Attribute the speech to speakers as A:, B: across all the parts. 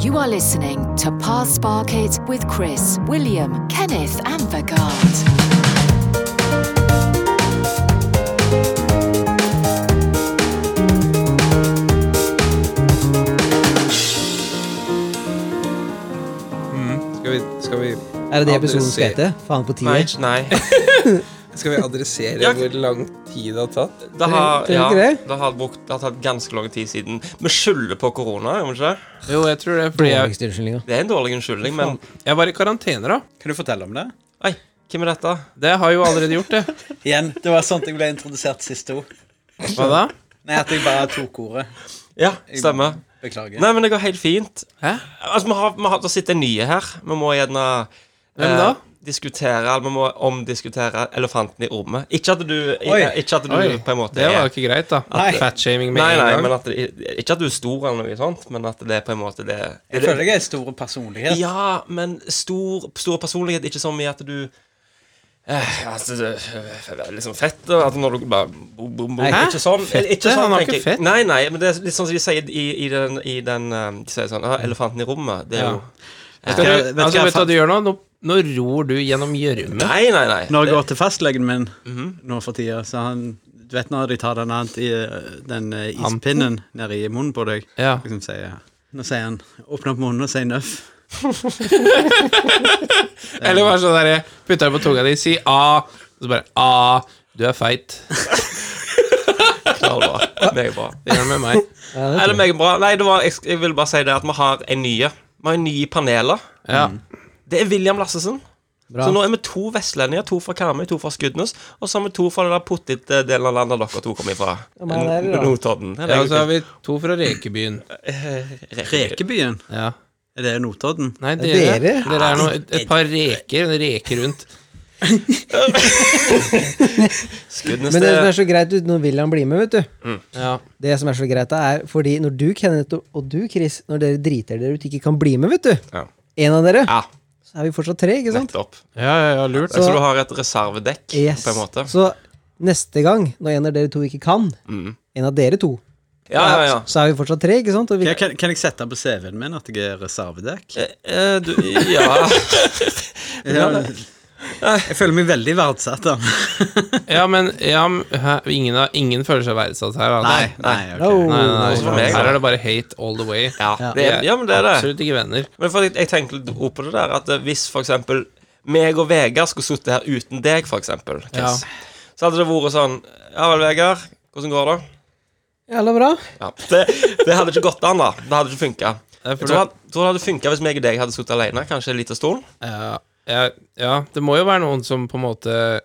A: You are listening to Past Barkit with Chris, William, Kenneth, and Vagard.
B: Skal vi, skal vi
C: Er det det episoden skal
B: adressere-
C: hete? Faen på
D: Nei.
C: tier?
D: Nei.
B: Skal vi adressere
D: Ja.
B: hvor lang tid det har tatt?
D: Det
C: Tror
D: har,
C: du
D: ja,
C: ikke det?
D: det har, brukt, det har tatt ganske lang tid siden. Vi skylder på korona, gjør vi ikke? det?
E: Jo, jeg tror det, fordi jeg,
C: Dårligste unnskyldninga.
D: Det er en dårlig unnskyldning, men
E: jeg var i karantene, da.
F: Kan du fortelle om det?
D: Oi, hvem er dette?
E: Det har jeg jo allerede gjort, det.
F: Igjen, det var sånt jeg ble introdusert siste ord.
E: Hva da?
F: Nei, at jeg bare tok ordet.
D: Ja, stemmer.
F: Beklager.
D: Nei, men det går helt fint.
E: Hæ?
D: Altså, vi har, vi har, Det sitter nye her. Vi må gjerne eh,
E: Hvem da?
D: diskutere, eller vi må omdiskutere elefanten i rommet. Ikke at du,
F: Oi.
D: ikke at du
E: Oi,
D: på en måte
E: Det var
D: er
E: jo ikke greit, da.
F: Nei.
E: Fatshaming med
D: Nei,
E: en
D: nei,
E: gang.
D: men at det, ikke at du er stor eller noe sånt, men at det er på en måte det, det,
F: Jeg føler jeg er stor personlighet.
D: Ja, men stor, stor personlighet, ikke som i at du eh, altså, det- eh, Liksom fett og at når du bare bom, bom, bom.
C: Nei,
D: Ikke sånn.
E: Fett,
D: ikke sånn
E: han har ikke
D: tenker jeg.
E: fett.
D: Nei, nei, men det er litt sånn som de sier i, i den, i den eh, De sier sånn ah, 'Elefanten i rommet'. Det er
E: Ja.
D: jo
E: Skal du,
D: Vet du hva
E: altså,
D: jeg
E: vet du hva
D: fant?
E: du gjør nå? Nå, nå ror du gjennom gjørme.
D: Nei, nei, nei.
F: Når jeg
D: Det-
F: går til fastlegen min nå for tida, så han Du vet når de tar den, ant i, den eh, ispinnen nedi i munnen på deg?
E: Ja.
F: Liksom sier, nå sier han 'åpne opp munnen og si nøff'.
E: Eller bare sånn derre Putter deg på tunga di, si A, og så bare A, du er feit.
D: Ja, det var bra. Meget bra.
E: Det gjør det med meg.
D: Nei, det er meget bra. Nei, det var, jeg, jeg vil bare si det at vi har en ny. Vi har en ny i panelet.
E: Ja.
D: Det er William Lassesen.
C: Bra.
D: Så nå er vi to vestlendinger. To fra Karmøy, to fra Skudenes. Og så har vi to fra den der puttete delen av landet dere to kommer ifra.
C: men det er det da.
D: Notodden. Det er
E: ja,
D: jo
E: og så har
D: fint.
E: vi to fra Rekebyen.
F: Rekebyen?
E: Ja.
F: Er det Notodden?
E: Nei,
C: Det
E: dere,
C: er
E: dere?
C: dere.
E: er noe, et, et par reker, en reke rundt.
C: Men det
D: Skudenes,
C: som
D: det,
C: er så greit ut når William blir med, vet du
E: Ja.
C: Det som er så greit, da, er fordi når du, Kenneth, og- og du, Chris, når dere driter dere ut, ikke kan bli med, vet du
D: Ja.
C: En av dere,
D: Ja.
C: så er vi fortsatt tre, ikke sant?
D: nettopp.
E: Ja, ja, ja, lurt.
D: Så, du har et reservedekk,
C: Yes.
D: på en måte?
C: Så neste gang, når en av dere to ikke kan, en av dere to,
D: Ja, Mm. ja, ja.
C: så er vi fortsatt tre, ikke sant? Og vi,
F: Kan, kan, kan jeg sette på CV-en min at jeg er reservedekk?
D: Eh, eh, Du, ja.
F: Jeg, jeg føler meg veldig verdsatt. da.
E: Ja, men ja, men, hæ, ingen, har- ingen føler seg verdsatt her. Altså.
F: Nei, nei, ok.
C: No.
E: Nei, nei,
D: Også for
E: nei.
D: meg,
E: Her
D: da.
E: er det bare hate all the way.
D: ja. Det er, ja, men det er det.
E: Absolutt ikke venner.
D: Men for jeg, jeg tenkte litt opp på det der At eh, hvis for eksempel meg og Vegard skulle sittet her uten deg, for eksempel, Chris, så hadde det vært sånn Ja vel, Vegard, hvordan går det?
C: Jævla bra.
D: Ja. Det, det hadde ikke gått an, da. Det hadde ikke funka.
E: Det er
D: Jeg
E: for
D: tror, han- tror det hadde funka hvis meg og deg hadde sittet alene, kanskje en liten stol.
E: Ja, ja, ja, det må jo være noen som på en måte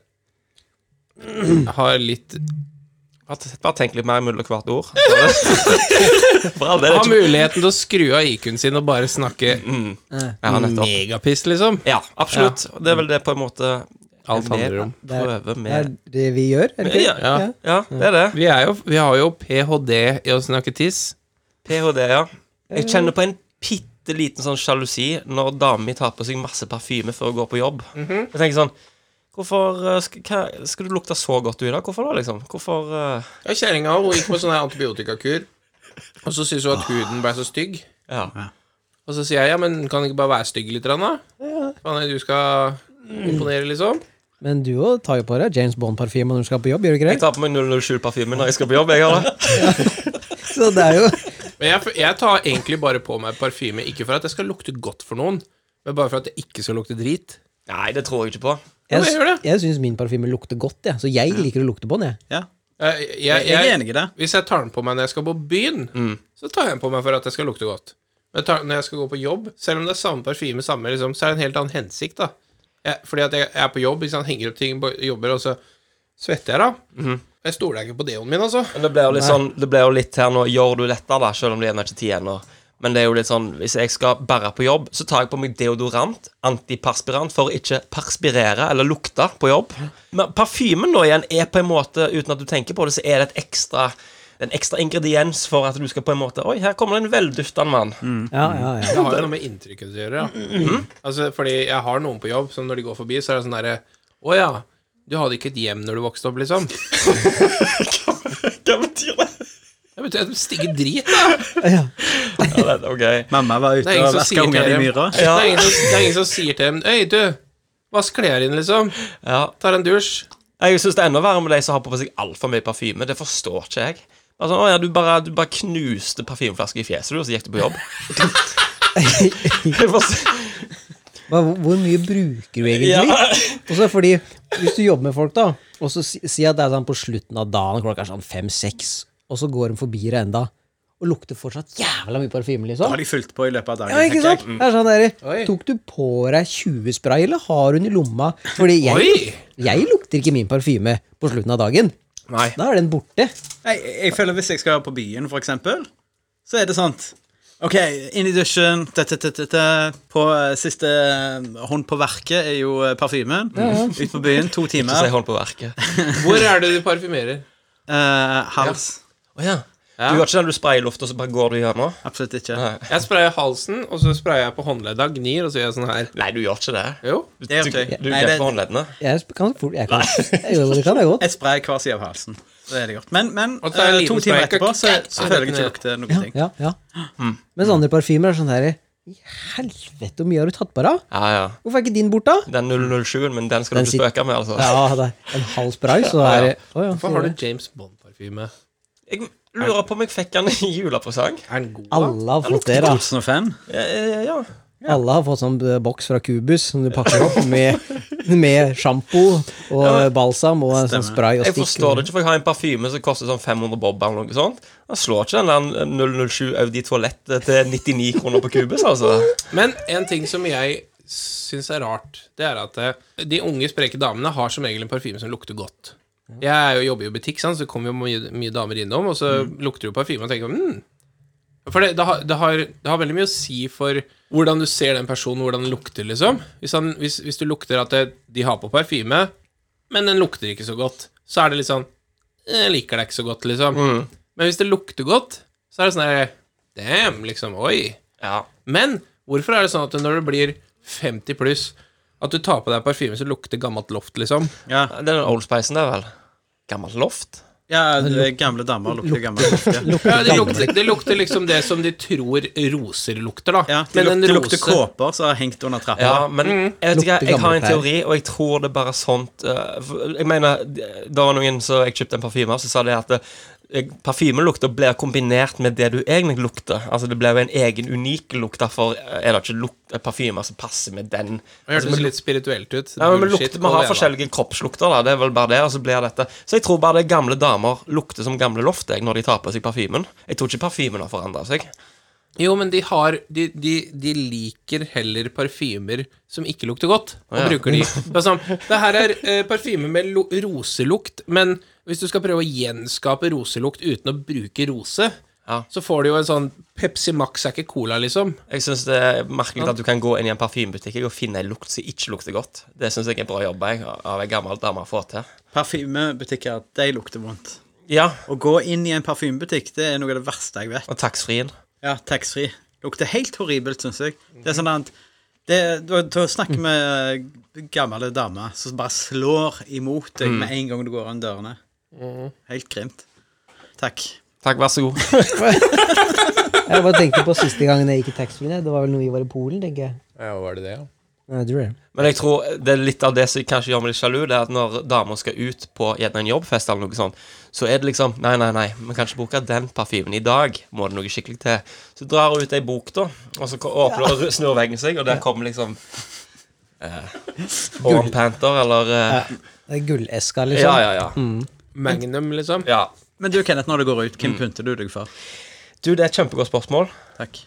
E: har litt
D: Bare, bare tenk litt mer mellom hvert ord. Så- For all
E: Har
D: del. det er ikke-
E: muligheten til å skru av IQ-en sin og bare snakke
D: Mm. Ja, nettopp.
E: megapiss, liksom.
D: Ja, absolutt. Og Det er vel det på en måte
E: Alt handler om.
D: Prøve
C: Det er
D: med
C: det vi gjør, er det ikke?
D: Ja, ja. ja, det er det.
E: Vi, er jo, vi har jo ph.d. i å snakke tiss.
D: PhD, ja. Jeg kjenner på en bitte liten sånn sjalusi når dama mi tar på seg masse parfyme før hun går på jobb.
E: Mhm.
D: Jeg tenker sånn Hvorfor eh, sk- hva, Skal du lukte så godt du i dag? Hvorfor da, liksom? Hvorfor eh,
E: Ja, Kjerringa hun gikk på sånn her antibiotikakur, og så syntes hun at huden ble så stygg.
D: Ja.
E: Og så sier jeg ja, men kan du ikke bare være stygg litt, grann, da? Faen, du skal imponere, liksom.
C: Men du òg tar jo på deg James Bond-parfyme når du skal på jobb, gjør du ikke
D: Jeg
C: det?
D: tar på meg 007-parfyme når jeg skal på jobb. Jeg, har det.
C: Så det er jo
E: Men jeg, jeg tar egentlig bare på meg parfyme, ikke for at jeg skal lukte godt for noen, men bare for at jeg ikke skal lukte drit.
D: Nei, det tror jeg ikke på.
E: men jeg gjør
C: Jeg,
E: det.
C: jeg syns min parfyme lukter godt, jeg. Så jeg liker å lukte på den, jeg.
F: Ja,
E: Jeg, jeg,
F: jeg, jeg er enig i det. Mm.
E: Hvis jeg tar den på meg når jeg skal på byen, så tar jeg den på meg for at jeg skal lukte godt. Men jeg tar, når jeg skal gå på jobb, selv om det er samme parfyme, samme, liksom, så er det en helt annen hensikt. da. Jeg, fordi at jeg, jeg er på jobb, ikke sant, henger opp ting, bo- jobber, og så svetter jeg, da.
F: Mm.
E: Jeg stoler ikke på deoen min, altså.
D: Men det ble jo litt sånn Det ble jo litt her nå Gjør du dette, da, selv om det ennå ikke er ti ennå? Men det er jo litt sånn hvis jeg skal bære på jobb, så tar jeg på meg deodorant, antiperspirant, for å ikke perspirere eller lukte på jobb. Men parfymen nå igjen er på en måte, uten at du tenker på det, så er det et ekstra en ekstra ingrediens for at du skal på en måte Oi, her kommer det en velduftende mann.
E: Mm.
C: Ja, ja, ja.
E: Det har jo noe med inntrykket å gjøre, ja. Altså, fordi jeg har noen på jobb som når de går forbi, så er det sånn derre Å ja, du hadde ikke et hjem når du vokste opp, liksom.
D: Hva betyr det?
E: Det betyr at de stikker drit, da.
C: ja.
D: Ja, det, ok.
F: Mamma var ute
E: Det er ingen
F: og
E: som
F: vaska
E: sier til
F: unger i
E: dem
F: myra.
E: Det er ingen som- det er ingen som sier til dem Øy, du, vask klærne dine, liksom.
D: Ja.
E: Tar en dusj.
D: Jeg syns det er enda verre med de som har på seg altfor mye parfyme. Det forstår ikke jeg. Altså, å ja, du, bare, du bare knuste parfymeflasker i fjeset, du, og så gikk du på jobb. Jeg forstår-
C: Hva, hvor mye bruker du egentlig?
D: ja.
C: Og så fordi, hvis du jobber med folk, da, og så si, si at det er sånn på slutten av dagen, klokka er sånn fem-seks, og så går de forbi deg enda, og lukter fortsatt jævla mye parfyme,
F: Har
C: liksom.
F: de fulgt på i løpet av dagen?
C: Ja, ikke
F: tenker jeg.
C: sant? Det er sånn der,
E: Mm. Oi.
C: Tok du på deg 20 spray, eller har hun i lomma? Fordi jeg,
E: Oi!
C: jeg lukter ikke min parfyme på slutten av dagen.
E: Nei.
C: Da er den borte.
F: Nei, Jeg, jeg føler Hvis jeg skal på byen, for eksempel, så er det sånt. OK, inn i dusjen. tø, tø, tø, tø, tø. På eh, siste eh, hånd på verket er jo eh, parfymen. Ut på byen, to
D: Så jeg
F: timer.
D: hånd på verket.
E: Hvor er det du parfymerer?
F: Eh, hals.
D: Å ja. Du gjør ikke den du sprayer i lufta, og så bare går du gjennom?
F: Absolutt ikke.
D: Nei.
E: Jeg sprayer halsen, og så sprayer jeg på håndledda, gnir, og så gjør jeg sånn her.
D: Nei, du gjør ikke det.
E: Jo.
D: Du,
F: Det
D: du,
F: er ok.
D: du
F: Nei,
D: grep
F: det-
D: på håndleddene.
C: Jeg sp- kan fort Jeg kan, jeg, jo, det kan jeg godt.
F: Et spray hver side av halsen. Så er det gjort. Men, men
E: Og så er det en
F: eh,
E: liten
F: to timer
E: spray.
F: etterpå så, så
E: Nei,
F: føler jeg
E: det
F: ikke
E: kunne-
F: lukter noen
C: Ja,
F: ting.
C: ja, ja. Mens andre parfymer er sånn her I helvete, hvor mye har du tatt på deg?
D: Ja, ja.
C: Hvorfor er ikke din borte, da?
D: Den 007-en, men den skal
C: Den
D: du
C: sitter-
D: ikke spøke med, altså.
C: Ja, det er en halv spray, så er det Å ja,
E: Hvorfor har du James Bond-parfyme?
D: Jeg lurer på om jeg fikk den i julepresang.
E: Er den god? da?
C: Alle har fått det, da.
F: 2005.
D: Ja, ja, ja.
C: Alle har fått sånn eh, boks fra Cubus som du pakker opp med, med sjampo og balsam og en sånn spray og
D: Jeg
C: stikk.
D: forstår det ikke, for jeg har en parfyme som koster sånn 500 bob eller noe sånt. Han slår ikke den der 007 Audi Toalett til 99 kroner på Cubus, altså.
E: Men en ting som jeg syns er rart, det er at eh, de unge, spreke damene har som regel en parfyme som lukter godt. Jeg er jo, jobber jo i butikk, sant? så kommer jo mye, mye damer innom, og så lukter du parfyme og tenker mm. For det, det, har, det, har, det har veldig mye å si for hvordan du ser den personen, hvordan den lukter, liksom. Hvis, han, hvis, hvis du lukter at det, de har på parfyme, men den lukter ikke så godt, så er det litt sånn Jeg liker deg ikke så godt, liksom. Men hvis det lukter godt, så er det sånn her Damn, liksom. Oi.
D: Ja.
E: Men hvorfor er det sånn at når du blir 50 pluss, at du tar på deg parfyme som lukter gammelt loft, liksom?
F: Ja,
D: Det er den Old Spicen, det, vel. Gammelt loft.
F: ja det er gamle damer lukter gammel luft.
E: Ja, det, lukter, det lukter liksom det som de tror roser lukter, da.
F: Ja, det
E: en
F: lukter, det lukter
E: rose-
F: kåper som har hengt under trappa.
D: Ja, men jeg vet ikke,
C: Mm. Lukter
D: jeg har en
C: gammelt her.
D: teori, og jeg tror det er bare sånt eh, for- Jeg mener, det var noen som jeg kjøpte en parfyme av, så sa det at eh, Parfymelukter blir kombinert med det du egentlig lukter. Altså Det blir jo en egen, unik lukt. Derfor er det ikke lukt, eh, parfymer som passer med den. Altså,
E: Det hørtes litt spirituelt ut.
D: Ja, men vi
E: Bullshit,
D: lukter, vi har
E: alene.
D: forskjellige kroppslukter, da. Det er vel bare det, og så blir dette Så jeg tror bare det er gamle damer lukter som gamle loft jeg, når de tar på seg parfymen. Jeg tror ikke parfymen har forandra seg.
E: Jo, men de har De, de, de liker heller parfymer som ikke lukter godt, og
D: Ja.
E: bruker de. Det, er sånn, det her er eh, parfyme med lo roselukt, men hvis du skal prøve å gjenskape roselukt uten å bruke rose,
D: Ja.
E: så får du jo en sånn Pepsi Max er ikke cola, liksom.
D: Jeg syns det er merkelig at du kan gå inn i en parfymebutikk jeg, og finne en lukt som ikke lukter godt. Det syns jeg er bra jobba jeg, av ei gammel dame å få til.
F: Parfymebutikker, de lukter vondt.
D: Ja,
F: Å gå inn i en parfymebutikk det er noe av det verste jeg vet.
D: og taxfree-en.
F: Ja, taxfree. Lukter helt horribelt, syns jeg. Det er sånn at det, du, du snakker med eh, gamle damer som bare slår imot deg med en gang du går an dørene. Helt grimt. Takk.
D: Takk, vær så god.
C: Jeg bare tenkte på siste gangen jeg gikk i taxfree. Det var vel når vi var i Polen, tenker jeg.
E: Ja, var det det, ja?
C: Nei, jeg tror det.
D: Men jeg tror det er litt av det som kanskje gjør meg litt sjalu, det er at når damer skal ut på gjerne en jobbfest eller noe sånt, så er det liksom Nei, nei, nei, vi kan ikke bruke den parfymen i dag. Må det noe skikkelig til. Så drar hun ut ei bok, da, og så ko- åpner og ru- snur veggen seg, og der kommer liksom eh, Oran Panther eller eh,
C: Det er gulleska,
D: Ja,
C: liksom.
D: ja, ja.
E: Magnum, liksom.
D: ja.
F: Men du, Kenneth, når du går ut, hvem pynter du deg for?
D: Du, det er et kjempegodt spørsmål.
F: Takk.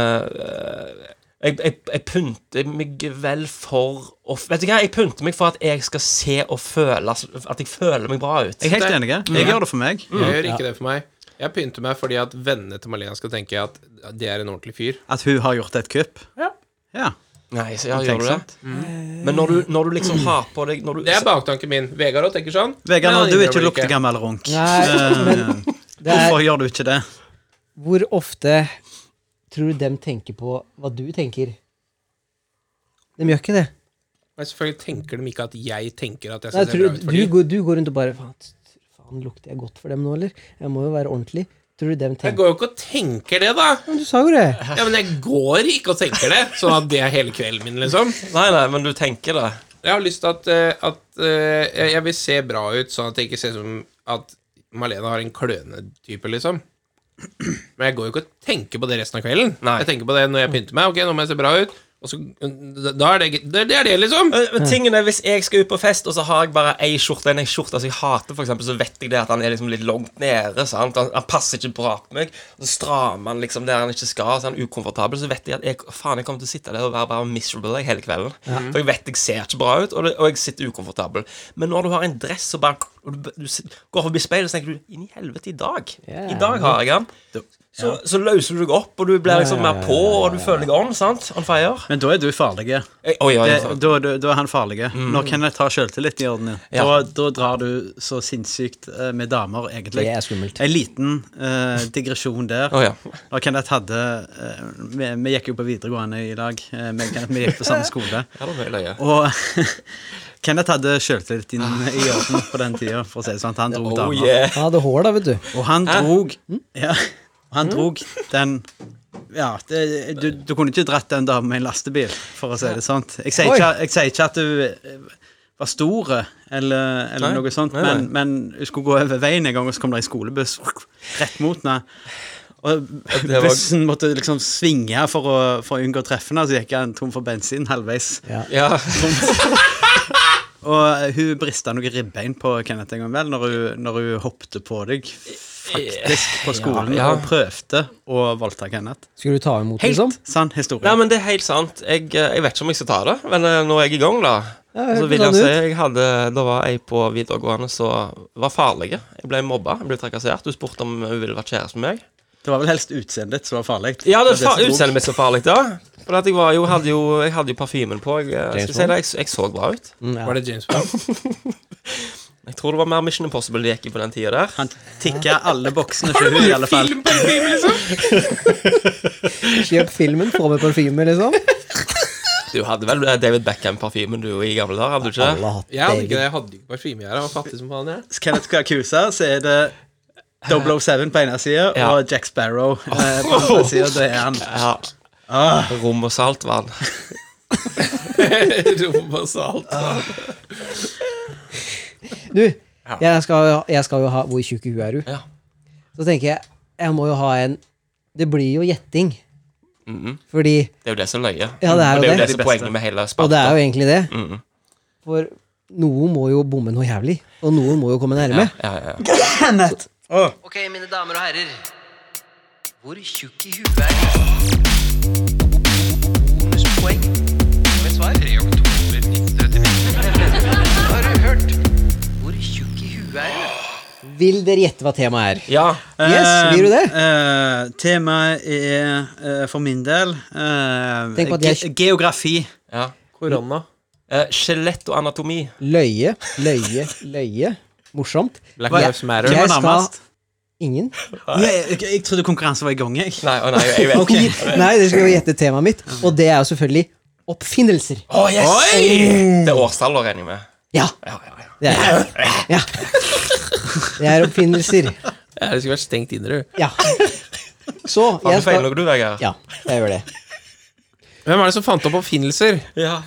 D: Eh, jeg, jeg, jeg pynter meg vel for å f- Vet du hva, jeg pynter meg for at jeg skal se og føle At jeg føler meg bra ut.
F: Jeg er helt enig. Jeg gjør det for meg.
E: Jeg gjør ikke det for meg. Jeg pynter meg fordi at vennene til Malena skal tenke at det er en ordentlig fyr.
F: At hun har gjort et kupp.
E: Ja.
F: Ja,
D: Nei, så ja, gjør du det? Mm.
F: tenksomt.
D: Men når du, når du liksom har på deg når du,
E: Det er baktanken min. Vegard òg tenker sånn.
F: Vegard,
E: Men han
F: når du ikke
E: innrømmer
F: lukter gammel runk, Eh,
C: Nei, men det
F: hvorfor
C: er,
F: gjør du ikke det?
C: hvor ofte tror du dem tenker på hva du tenker? De gjør ikke det.
E: Men selvfølgelig tenker de ikke at jeg tenker at jeg
C: Nei,
E: skal se
C: tror,
E: bra ut
C: du,
E: for
C: du,
E: dem.
C: går- du går rundt og bare Faen, faen, lukter jeg godt for dem nå, eller? Jeg må jo være ordentlig. Tror du dem
E: Jeg
C: tenker
E: går jo ikke og tenker det, da.
C: Men Du sa jo det!
E: Ja, Men jeg går ikke og tenker det, sånn at det er hele kvelden min, liksom.
D: Nei, nei, men du tenker det.
E: Jeg har lyst til at, eh, at eh, jeg- jeg vil se bra ut, sånn at jeg ikke ser ut som at Malena har en klønete type, liksom. Men jeg går jo ikke og tenker på det resten av kvelden.
D: Nei.
E: Jeg tenker på det når jeg pynter meg. Ok, nå må jeg se bra ut. Og så, da er det, det, det er det, liksom.
D: Men, men tingen er, Hvis jeg skal ut på fest, og så har jeg bare ei skjorte enn ei skjorte som jeg hater, for eksempel, så vet jeg det at han er liksom litt langt nede. sant? Han, han passer ikke bra på meg. og Så strammer han liksom der han ikke skal, så han er ukomfortabel. Så vet jeg at jeg, faen, jeg kommer til å sitte der og være bare miserable jeg, hele kvelden. For jeg vet jeg ser ikke bra ut, og, det, og jeg sitter ukomfortabel. Men når du har en dress og bare og du, du sit- går forbi speilet, så tenker du Inn i helvete, i dag.
C: Ja.
D: I dag har jeg han. Så, så løser du deg opp, og du blir liksom mer på, og du føler deg on, sant? On fire.
F: Men da er du farlig.
D: Jeg, oi, oi,
F: Det,
D: sant.
F: da, da, da er han farlig. Når Kenneth har sjøltillit i orden, ja.
D: Ja.
F: da, da drar du så sinnssykt eh, med damer, egentlig.
C: Det er skummelt.
F: En liten eh, digresjon der.
D: Å, ja.
F: Når Kenneth hadde eh, vi, vi gikk jo på videregående i lag. eh, meg og Kenneth, vi gikk på samme skole.
D: Ja, det var veldig løye.
F: Og Kenneth hadde sjøltillit inn i orden på den tida, for å si det sånn. Han dro
D: Oh,
F: damer.
D: yeah.
C: Han hadde hår, da, vet du.
F: Og han drog
D: Hm?
F: Ja, og han drog den Ja, det, du, du kunne ikke dratt den damen med en lastebil, for å si det sånn. Jeg sier
C: Oi.
F: ikke, jeg sier ikke at du eh, var stor, eller, eller
D: Nei,
F: noe sånt,
D: nei, nei.
F: men, men du skulle gå over veien en gang, og så kom det en skolebuss rett mot henne. Og
D: det var-
F: bussen måtte liksom svinge for å, for å unngå å treffe henne, så gikk han tom for bensin halvveis.
D: Ja.
F: Og eh, hun brista noen ribbein på Kenneth en gang vel, når hun, når hun hoppte på deg, faktisk, på skolen,
D: Ja, ja.
F: og prøvde å voldta Kenneth.
C: Skulle du ta imot,
F: Helt
C: liksom?
F: sann historie.
D: Nei, men det er helt sant. Jeg, eh, jeg vet ikke om jeg skal ta det, men eh, nå er jeg i gang, da.
C: Ja, jeg
D: så
C: hørte
D: vil
C: det
D: jeg si,
C: ut.
D: jeg hadde, Da var jeg på videregående som var farlig. Jeg ble mobba, jeg ble trakassert. Hun spurte om hun ville vært kjæreste med meg.
F: Det var vel helst utseendet ditt som var farlig.
D: Ja, det
F: var
D: var utseendet mitt så farlig, da. For at jeg, var jo, hadde jo, jeg hadde jo parfymen på. Jeg,
C: James
D: eh, skal jeg, si det, jeg, jeg så bra ut.
C: Mm, ja.
E: Var det James Bond?
D: Jeg tror det var mer Mission Impossible det gikk i på den tida der.
F: Han tikka alle boksene for hun i alle fall.
E: liksom.
C: Kjøp filmen, få med parfyme, liksom.
D: Du hadde vel eh, David Beckham-parfymen du i gamle dager, hadde du ikke?
C: Alle har hatt
E: Jeg hadde ikke
C: egen.
E: det. Jeg hadde ikke parfyme. Jeg var fattig som faen, jeg.
F: Så Kenneth Kakusa, så er det 007 på ene sida,
D: Ja.
F: og Jack Sparrow eh, på
C: Oh.
F: andre sida. Det er han.
D: Ja. Rom og saltvann.
E: Rom og salt.
C: Du, jeg skal, jo- jeg skal jo ha Hvor tjukk i huet er du?
D: Ja.
C: Så tenker jeg, jeg må jo ha en Det blir jo gjetting.
E: Mm-hmm.
C: Fordi
D: Det er jo det som er løye.
C: Ja, det er jo
D: og det er jo
C: det.
D: det som er poenget med hele
C: Og det
D: spalta.
C: er jo egentlig det. For noen må jo bomme noe jævlig, og noen må jo komme nærme.
D: Ja, ja, ja.
C: Kenneth!
G: Ok, mine damer og herrer. Hvor tjukk i huet er du? Bonuspoeng. Med svar 3 oktober 1939. Har du hørt? Hvor tjukk i huet er du?
C: Vil dere gjette hva temaet er?
D: ja.
C: Yes, blir du det?
F: Eh, temaet er, eh, for min del, eh,
C: Tenk på at jeg-
F: ge geografi.
D: ja.
E: Korona.
D: Eh, Skjelett og anatomi.
C: Løye, løye, løye. Morsomt.
E: Black
C: Hva-
E: Lives Matter.
C: Jeg
F: Hvem er
C: skal
F: nærmest?
C: Ingen?
F: Jeg, jeg, jeg trodde konkurransen var i gang, jeg.
D: Nei, å nei, jeg vet ikke.
C: Nei, dere skal jo gjette temaet mitt, og det er jo selvfølgelig oppfinnelser.
D: Å, yes! Oi! Det er årstall, da, regner jeg med.
C: Ja,
D: Ja, ja, ja.
C: det er det. Ja. Det er oppfinnelser.
E: Ja, det skulle vært stengt inne, du.
C: Ja. Så
D: Fant
C: jeg
D: du feil
C: skal
D: noe, du, Vegard?
C: Ja, jeg gjør det.
E: Hvem er det som fant opp oppfinnelser?
D: Ja.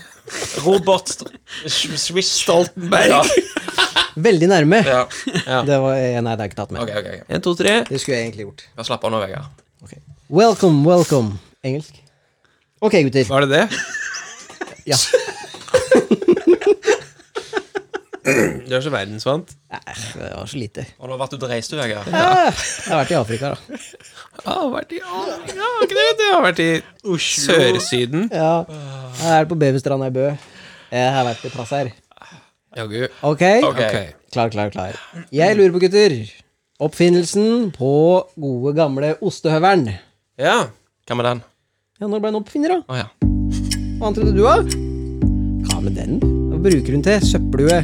D: Robert St- Sch- Swish Stoltenberg. Ja.
C: Veldig nærme.
D: ja.
C: Det var, eh, nei, det er ikke tatt med.
D: Ok, ok, ok.
E: En, to, tre.
C: Det skulle jeg egentlig gjort.
D: Bare slapp av nå, Vegard.
C: Welcome, welcome. Engelsk. Ok, gutter.
E: Var det det?
C: Ja.
E: Du er så verdensvant.
C: Nei, det var så lite.
D: Og nå ble du dreist, du, Vegard.
C: Jeg har vært i Afrika, da.
E: Ja, jeg har vært i Afrika, har ikke det? Jeg har vært i Sør-Syden.
C: Ja. Jeg er på Babystranda i Bø. Jeg har vært i plass her.
E: Jaggu.
C: Ok?
D: Ok.
E: Ok.
C: Klar, klar, klar. Jeg lurer på, gutter Oppfinnelsen på gode, gamle ostehøvelen.
E: Ja.
D: Hva med den?
C: Ja, når ble han oppfinner, da?
D: Å ja.
C: Hva annet trodde du, da? Hva med den? Hva bruker hun til? Søppelhue.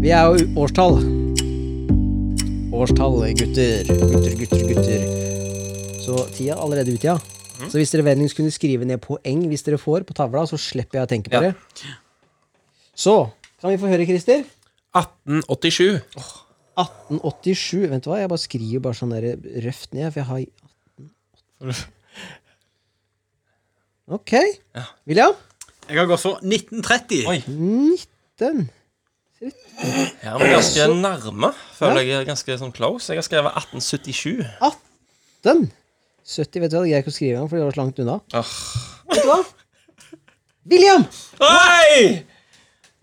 C: Vi er jo årstall. Årstall, gutter. Gutter, gutter, gutter. Så tida er allerede ute, ja.
D: Mhm.
C: Så hvis dere vennligst kunne skrive ned poeng hvis dere får på tavla, så slipper jeg å tenke på
D: Ja.
C: det. Så kan vi få høre, Christer.
E: 1887.
C: 1887 Vent hva, jeg bare skriver bare sånn der røft ned, for jeg har 1880 Ok. William?
F: Jeg har gått for 1930.
D: Oi.
C: Den.
D: Ja, men ganske nærme. Føler jeg er ganske sånn close. Jeg har skrevet 1877.
C: 18. 70, vet du hva, det greier jeg ikke å skrive engang, for det var så langt unna.
D: Ah.
C: Vet du hva? William!
D: Hei!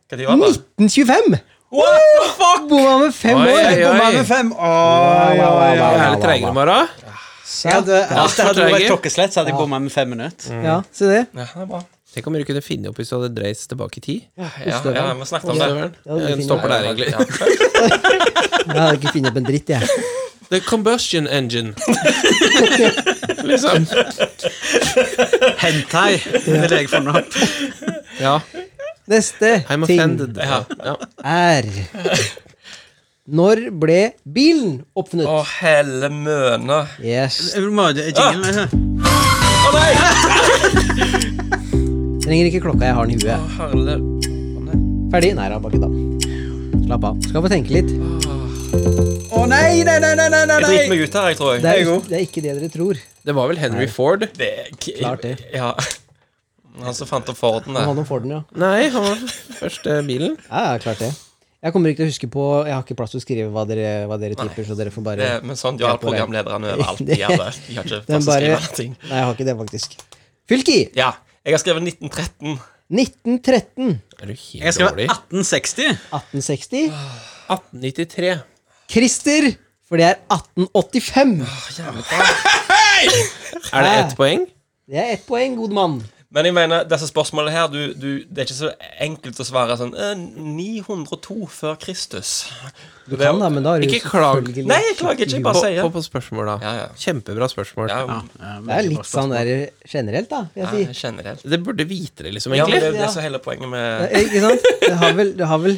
D: Hva tid var det?
C: 1925!
D: What the fuck?
C: Bomma med fem
E: Oi,
C: år!
E: oi,
F: Bomma
E: oi.
F: med fem. Oi, oi, oi.
E: Jeg er litt treigere, Mara.
F: Jeg hadde, hvis det hadde vært
E: trenger.
F: klokkeslett, så hadde jeg bomma med fem minutter.
C: Ja, se det.
D: Ja, det er bra.
E: Tenk om dere kunne finne opp hvis du hadde dreist tilbake i tid.
D: Ja, ja, vi snakket om det.
E: Støvelen. Jeg stopper der, egentlig.
D: Ja.
C: Jeg hadde ikke funnet opp en dritt, jeg.
E: The combustion engine. liksom.
F: Hentai ville jeg funnet opp.
E: Ja.
C: Neste
E: I'm
C: ting
E: offended. Ja. Ja.
C: er Når ble bilen oppfunnet?
D: Å, helle møne.
C: Yes.
F: Jeg må- det er jingle.
D: Å nei!
C: Trenger ikke klokka, jeg har den i
D: Å,
C: huet.
D: herle...
C: Ferdig? Nei da, bare kødda. Slapp av. Skal få tenke litt.
F: Å nei, nei, nei, nei, nei,
D: Jeg driter
F: nei.
D: meg ut her, jeg tror jeg.
C: Det er,
F: god.
C: det er ikke det dere tror.
E: Det var vel Henry Ford?
D: Det
C: Klart det.
D: Ja. Han som fant opp Forden,
C: Han
D: det.
C: om Forden, ja.
E: Nei, han var første bilen.
C: Ja, ja, klart det. Jeg kommer ikke til å huske på Jeg har ikke plass til å skrive hva dere, hva dere tipper, så dere får bare
D: det men sånn gjør programlederne overalt. De gjør det. De har ikke
C: Den
D: plass til å
C: bare
D: skrive noe.
C: Nei, jeg har ikke det, faktisk. Fylki!
D: Ja. Jeg har skrevet 1913.
C: 1913.
E: Er du
F: Jeg
E: helt
F: skrev
E: dårlig?
F: 1860.
C: 1860.
E: 1893.
C: Christer! For det er 1885.
E: Er det ett poeng?
C: Det er ett poeng, god mann.
D: Men jeg mener, disse spørsmålene her du, du, Det er ikke så enkelt å svare sånn eh, 902 før Kristus.
C: Du kan da, men da har du
E: Ikke klag.
C: selvfølgelig-
D: Nei, jeg klager ikke. Jeg bare
E: På,
D: sier
E: på, på spørsmål, da.
D: Ja, ja.
E: Kjempebra spørsmål.
D: ja,
C: Det er litt sånn der generelt, da. vil
D: ja,
C: Jeg si.
D: generelt.
E: Det burde vite det, liksom,
D: Ja, men
E: egentlig.
D: det er jo det som er hele poenget med
C: Ikke sant? Det har vel, det har vel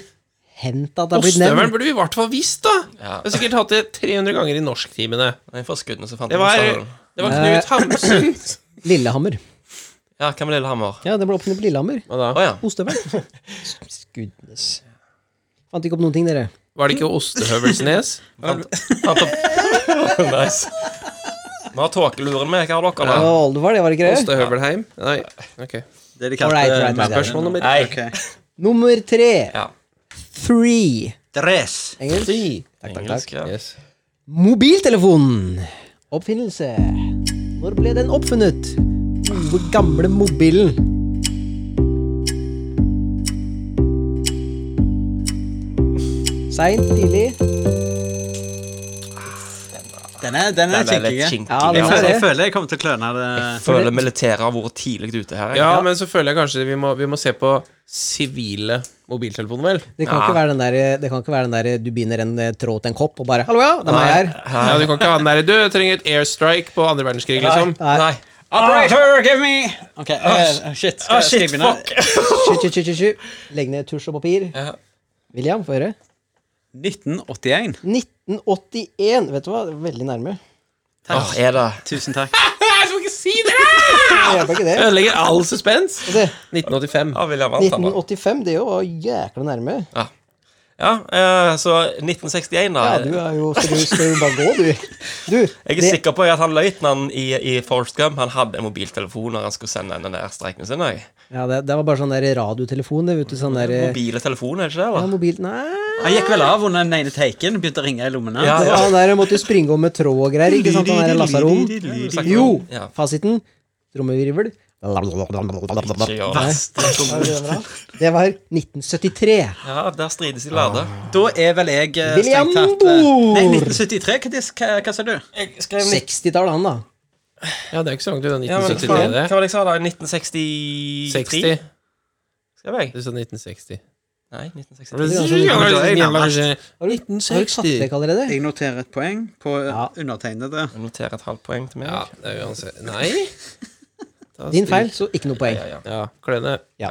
C: hendt at det har blitt
E: Ostehøvelen
C: nevnt.
E: burde vi i hvert fall visst, da!
D: Ja.
E: Jeg har sikkert hatt det 300 ganger i norsktimene.
D: Nei, forskuddene som fant
E: Det var,
D: Ostehøvelen.
E: det var Knut Hamsun.
C: Eh, Lillehammer.
D: Ja, hva med Lillehammer?
C: Ja, det ble oppfunnet på Lillehammer.
E: Hva da?
D: Å ja.
C: Ostehøvel. Goodness. Fant ikke opp noen ting, dere.
E: Var det ikke Ostehøvelsnes?
D: Fant, fant opp. nice. Vi har tåkeluren med. Hva har dere da?
C: Ja, Oldefar, det var ikke det?
E: Ostehøvelheim? Nei. Ok.
C: sånn All
F: Det de
C: right, right,
F: kalte
C: right, right.
E: Spørsmål nummer
D: Nei.
F: Ok.
C: Nummer tre.
D: Ja.
C: Three.
F: Dress.
C: Engelsk.
D: Engelsk, ja.
E: Yes.
C: Mobiltelefonen. Oppfinnelse. Når ble den oppfunnet? Gode, gamle mobilen. Seint, tidlig.
F: Den er,
D: Den
F: den er
D: er
F: kinkig.
D: litt
F: Jeg
D: kinkig.
C: Ja, den
D: Jeg
C: er-
F: føler- jeg føler jeg kommer til å kløne det.
D: føler militæret har vært tidlig ute her. jeg.
E: Ja, men så føler jeg kanskje vi må, vi må se på sivile mobiltelefoner, vel?
C: Det kan, ikke være den der, det kan ikke være den der du binder en eh, tråd til en kopp og bare 'Hallo, ja, det er meg her'.
E: Ja, du kan ikke ha den der Du, jeg trenger et airstrike på andre verdenskrig, liksom.
C: Nei.
D: Nei.
F: Operator, give me Ah! Ok, eh, shit. Skal
D: Ah,
F: jeg
D: shit,
F: skrive ned?
D: fuck.
C: Skyt, skyt, skyt, skyt, skyt. Legg ned tusj og papir.
D: Ja.
C: William, få høre.
F: 1981.
C: 1981. Vet du hva, veldig nærme.
D: Åh, er det
F: Tusen takk.
E: Jeg skal ikke si det!
C: Det hjelper ikke det.
E: Ødelegger all suspens.
C: det.
E: 1985.
D: Ja, William vant, han da.
C: 1985, det jo var jækla nærme.
D: Ja, eh, så 1961,
C: Ja,
D: da.
C: du er jo Så du skal jo bare gå, du. Du,
D: Jeg er
C: det-
D: sikker på at han løytnanten i, i Forrest Gump Han hadde en mobiltelefon når han skulle sende den der streiken sin. jeg.
C: Ja, det, det var bare sånn der radiotelefon, det, vet du. Sånn der eh,
D: Mobile telefoner, er det ikke det?
C: ja,
D: eller?
C: mobil Nei
F: Han gikk vel av under den ene taken, begynte å ringe i lommene.
D: Ja,
C: Det var Han der måtte jo springe om med tråd og greier, ikke sant? Han der lasaron. Jo,
D: Ja.
C: fasiten. Trommevirvel.
D: Ikke gjør det.
C: Det var 1973.
D: Ja, der strides de lærde.
F: Da er vel jeg eh,
C: William
F: strengt tatt eh,
C: Moore.
F: Nei, 1973. Hva, dis- hva, hva sa du?
D: Jeg skrev
C: 60-tall, han, da.
E: Ja, det er ikke så langt unna
D: ja, men,
E: 1973,
D: faen, Hva
E: det.
D: var det jeg sa da? 1963?
E: 60.
D: Skrev jeg?
E: Du sa 1960.
D: Nei, 1963.
C: Har du, har du ikke satt vekk allerede?
F: Jeg noterer et poeng på
C: Ja.
F: undertegnede.
D: Jeg noterer et halvt poeng til meg.
E: Ja, det er uansett Nei. Da
C: Din
E: stryker-
C: feil, så ikke noe poeng.
D: Ja, ja.
E: Ja, kløne.
C: Ja.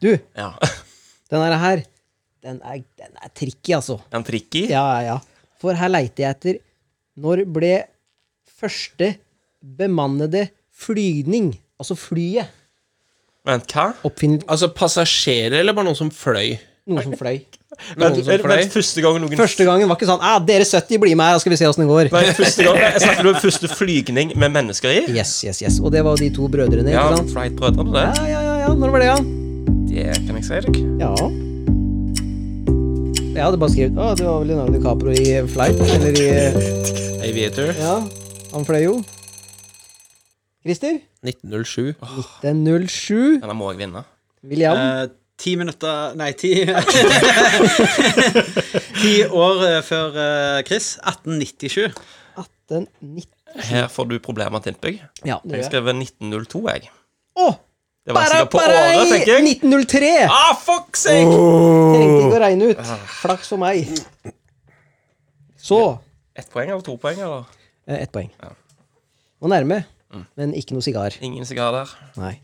C: Du,
D: ja.
C: den her her, den er, den er tricky, altså.
D: En tricky?
C: Ja, ja, ja. For her leiter jeg etter Når ble første bemannede flygning, altså flyet,
D: Vent, hva?
C: oppfunnet?
E: Altså passasjerer, eller bare noen som fløy?
C: Noen som fløy.
D: Men,
B: som
D: men,
B: fløy?
D: første gang noen
C: Første gangen var ikke sånn ah, 'Dere 70, bli med her, skal vi se åssen det går'.
D: Nei, første gang, jeg snakker om første flygning med mennesker i.
C: Yes, yes, yes. Og det var jo de to brødrene,
D: Ja,
C: ikke sant?
D: Fright Brødrene, det.
C: Ja, ja, ja, ja. Når var det, ja?
D: Det kan jeg si deg.
C: Ja. Jeg hadde bare skrevet Å, det var vel Leonardo DiCaprio i Flight, eller i
E: Aviator.
C: Ja, han fløy jo. Christer?
E: 1907.
C: Det er 07.
D: Denne må jeg vinne.
C: William?
F: Eh, Ti minutter Nei, ti Ti år eh, før eh, Chris. 1897.
C: 1890.
D: Her får du problemer, Timpig.
C: Ja, det gjør
D: Jeg
C: jeg.
D: skrev 1902, jeg.
C: Å!
D: Det var
C: Bare,
D: sikkert på året, tenker jeg.
C: 1903!
D: Ah, fuck sake!
C: Trengte ikke å regne ut. Flaks for meg. Så
D: Ett poeng eller to poeng, eller?
C: eh, ett poeng. Var nærme, men ikke noe sigar.
D: Ingen sigar der.
C: Nei.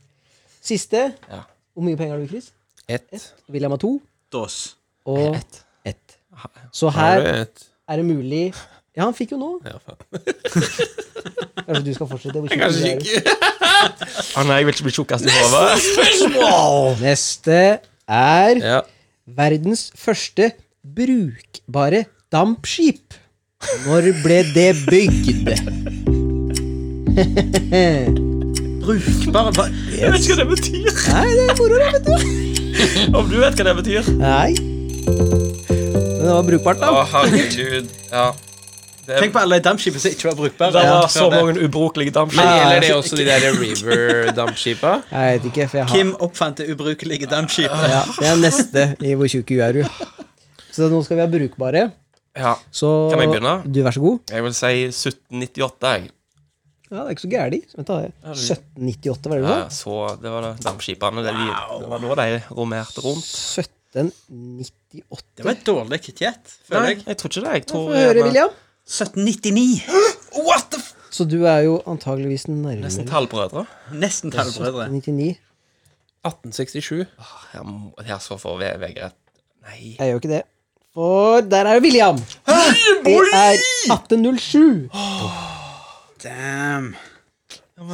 C: Siste.
D: Ja.
C: Hvor mye penger har du, Chris?
E: Ett.
C: William har to.
F: Dos.
C: Og ett. Så
E: Har
C: her
E: du ett?
C: er det mulig Ja, han fikk jo nå.
E: Ja, faen.
C: Kanskje du skal fortsette? hvor tjukk du
E: Kanskje
C: er.
E: ikke.
D: Ah, nei, jeg vil ikke bli tjukkast i hodet.
C: Neste er
E: Ja.
C: verdens første brukbare dampskip. Når ble det bygd?
F: Brukbare ba-
D: Jeg vet ikke hva det betyr.
C: Nei, det er moro, da, vet du.
D: Om du vet hva det betyr.
C: Nei. Men det var brukbart,
D: Å,
C: da.
D: herregud. Ja. Det,
F: Tenk på alle de dampskipene som ikke var brukbare.
D: det var
F: Ja,
D: så
F: før det.
D: mange ubrukelige
E: Men
D: dampskip.
E: gjelder det også de der river-dampskipa?
C: Jeg vet ikke, for jeg har
F: Kim oppfant det ubrukelige dampskipet.
C: ja, Det er neste i Hvor tjukk er du? Så nå skal vi ha brukbare.
D: Ja.
C: Så
D: Kan jeg begynne?
C: Du, vær så god.
D: Jeg vil si 1798, jeg.
C: Ja, det er ikke så gæli. Vent da, 1798, var det du sa?
D: Ja, så det var det dampskipene. Det, de, det var nå de romerte rundt.
C: 1798.
F: Det var et dårlig kjett,
D: Nei,
F: føler jeg.
D: jeg tror ikke det. Jeg
C: Få
D: tror
C: høre, William.
F: 1799.
D: What the f...
C: Så du er jo antageligvis nærmere
D: Nesten halvbrødre.
F: Nesten halvbrødre.
C: 99.
E: 1867.
D: Her, må- her så får V- Vegard Nei.
C: Jeg gjør ikke det. For der er jo William! Det er 1807.
F: Damn.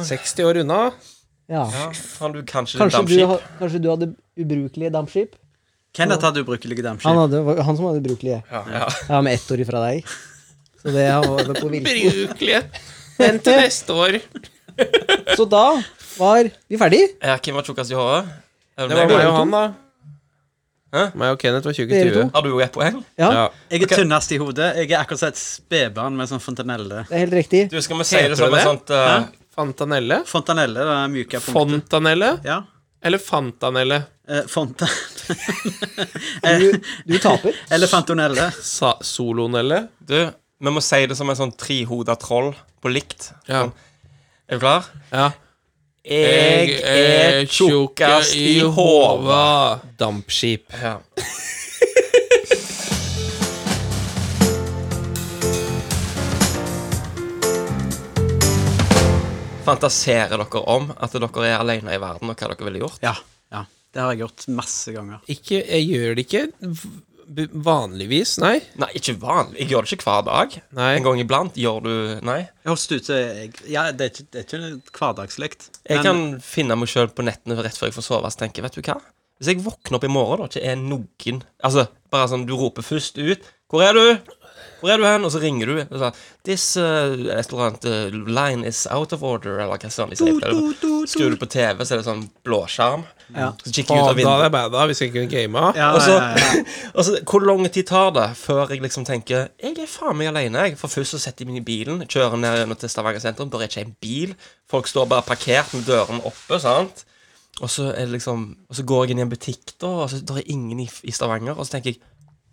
E: 60 år unna.
C: Ja.
D: Ja, kan du
C: Kanskje,
D: kanskje,
C: du,
D: dampskip?
C: ha- kanskje du hadde ubrukelige dampskip?
F: Kenneth hadde ubrukelige
C: Han,
F: dampskip.
C: hadde, var han som hadde ubrukelige.
D: Ja, ja.
C: Ja, med ett år ifra deg. Så det har vært på virkelig.
E: Brukelig. Vent til neste år.
C: Så da var vi ferdig.
D: Ja, Hvem var tjukkest i håret? Er
E: Det var
D: meg?
E: meg og han, da.
D: Hæ?
E: Meg og Kenneth var tjukke i
C: Dere
E: huet.
D: Har du jo ett poeng?
C: Ja,
E: Ja.
F: Jeg er tynnest i hodet. Jeg er akkurat som et spedbarn med sånn fontanelle.
C: det er helt riktig.
D: Du, skal vi si
E: Heter
D: det som
E: det
D: et
E: det?
D: sånt eh,
E: Fantanelle?
F: Fontanelle, det er myke punktet.
E: Fontanelle?
F: Ja.
E: Eller Fantanelle?
F: Eh, fontan...
C: Du, du taper.
F: Eller fantonelle.
E: Sa solonelle?
D: Du, vi må si det som et sånt trehoda troll på likt.
E: Ja.
D: Sånn. Er du klar?
E: Ja.
D: Jeg er tjukkast i håret.
E: Dampskip.
D: Ja. Fantaserer dere om at dere er alene i verden, og hva dere ville gjort?
F: Ja. ja. Det har jeg gjort masse ganger.
E: Ikke Jeg gjør det ikke v- b- vanligvis, nei.
D: Nei, ikke vanlig. Jeg gjør det ikke hver dag.
E: Nei.
D: En gang iblant gjør du Nei.
F: Jeg holdt ut til jeg, ja, det, er ikke, det er ikke hverdagslikt.
D: Jeg
F: Men
D: kan finne meg sjøl på nettene rett før jeg får sove, så tenker jeg, vet du hva Hvis jeg våkner opp i morgen og ikke er noen Altså, bare sånn, du roper først ut 'Hvor er du?' 'Hvor er du hen?' Og så ringer du. Og så, 'This uh, restaurant uh, line is out of order', eller hva søren de sier.
F: du, du, du.
D: Skrur du på TV, så er det sånn blåskjerm.
C: Ja.
D: Så kikker
E: Faen, da
D: jeg ut av
E: hadde
D: vinduet.
E: jeg bada hvis jeg kunne gama.
F: ja,
D: Og så,
F: ja, ja.
D: og så, Altså, Hvor lang tid tar det før jeg liksom tenker Jeg er faen meg alene. Jeg. For først så setter jeg meg i bilen, kjører ned gjennom til Stavanger sentrum. Der er ikke en bil. Folk står bare parkert med dørene oppe. sant? Og så, er det liksom, og så går jeg inn i en butikk, da, og så der er ingen i, i Stavanger. Og så tenker jeg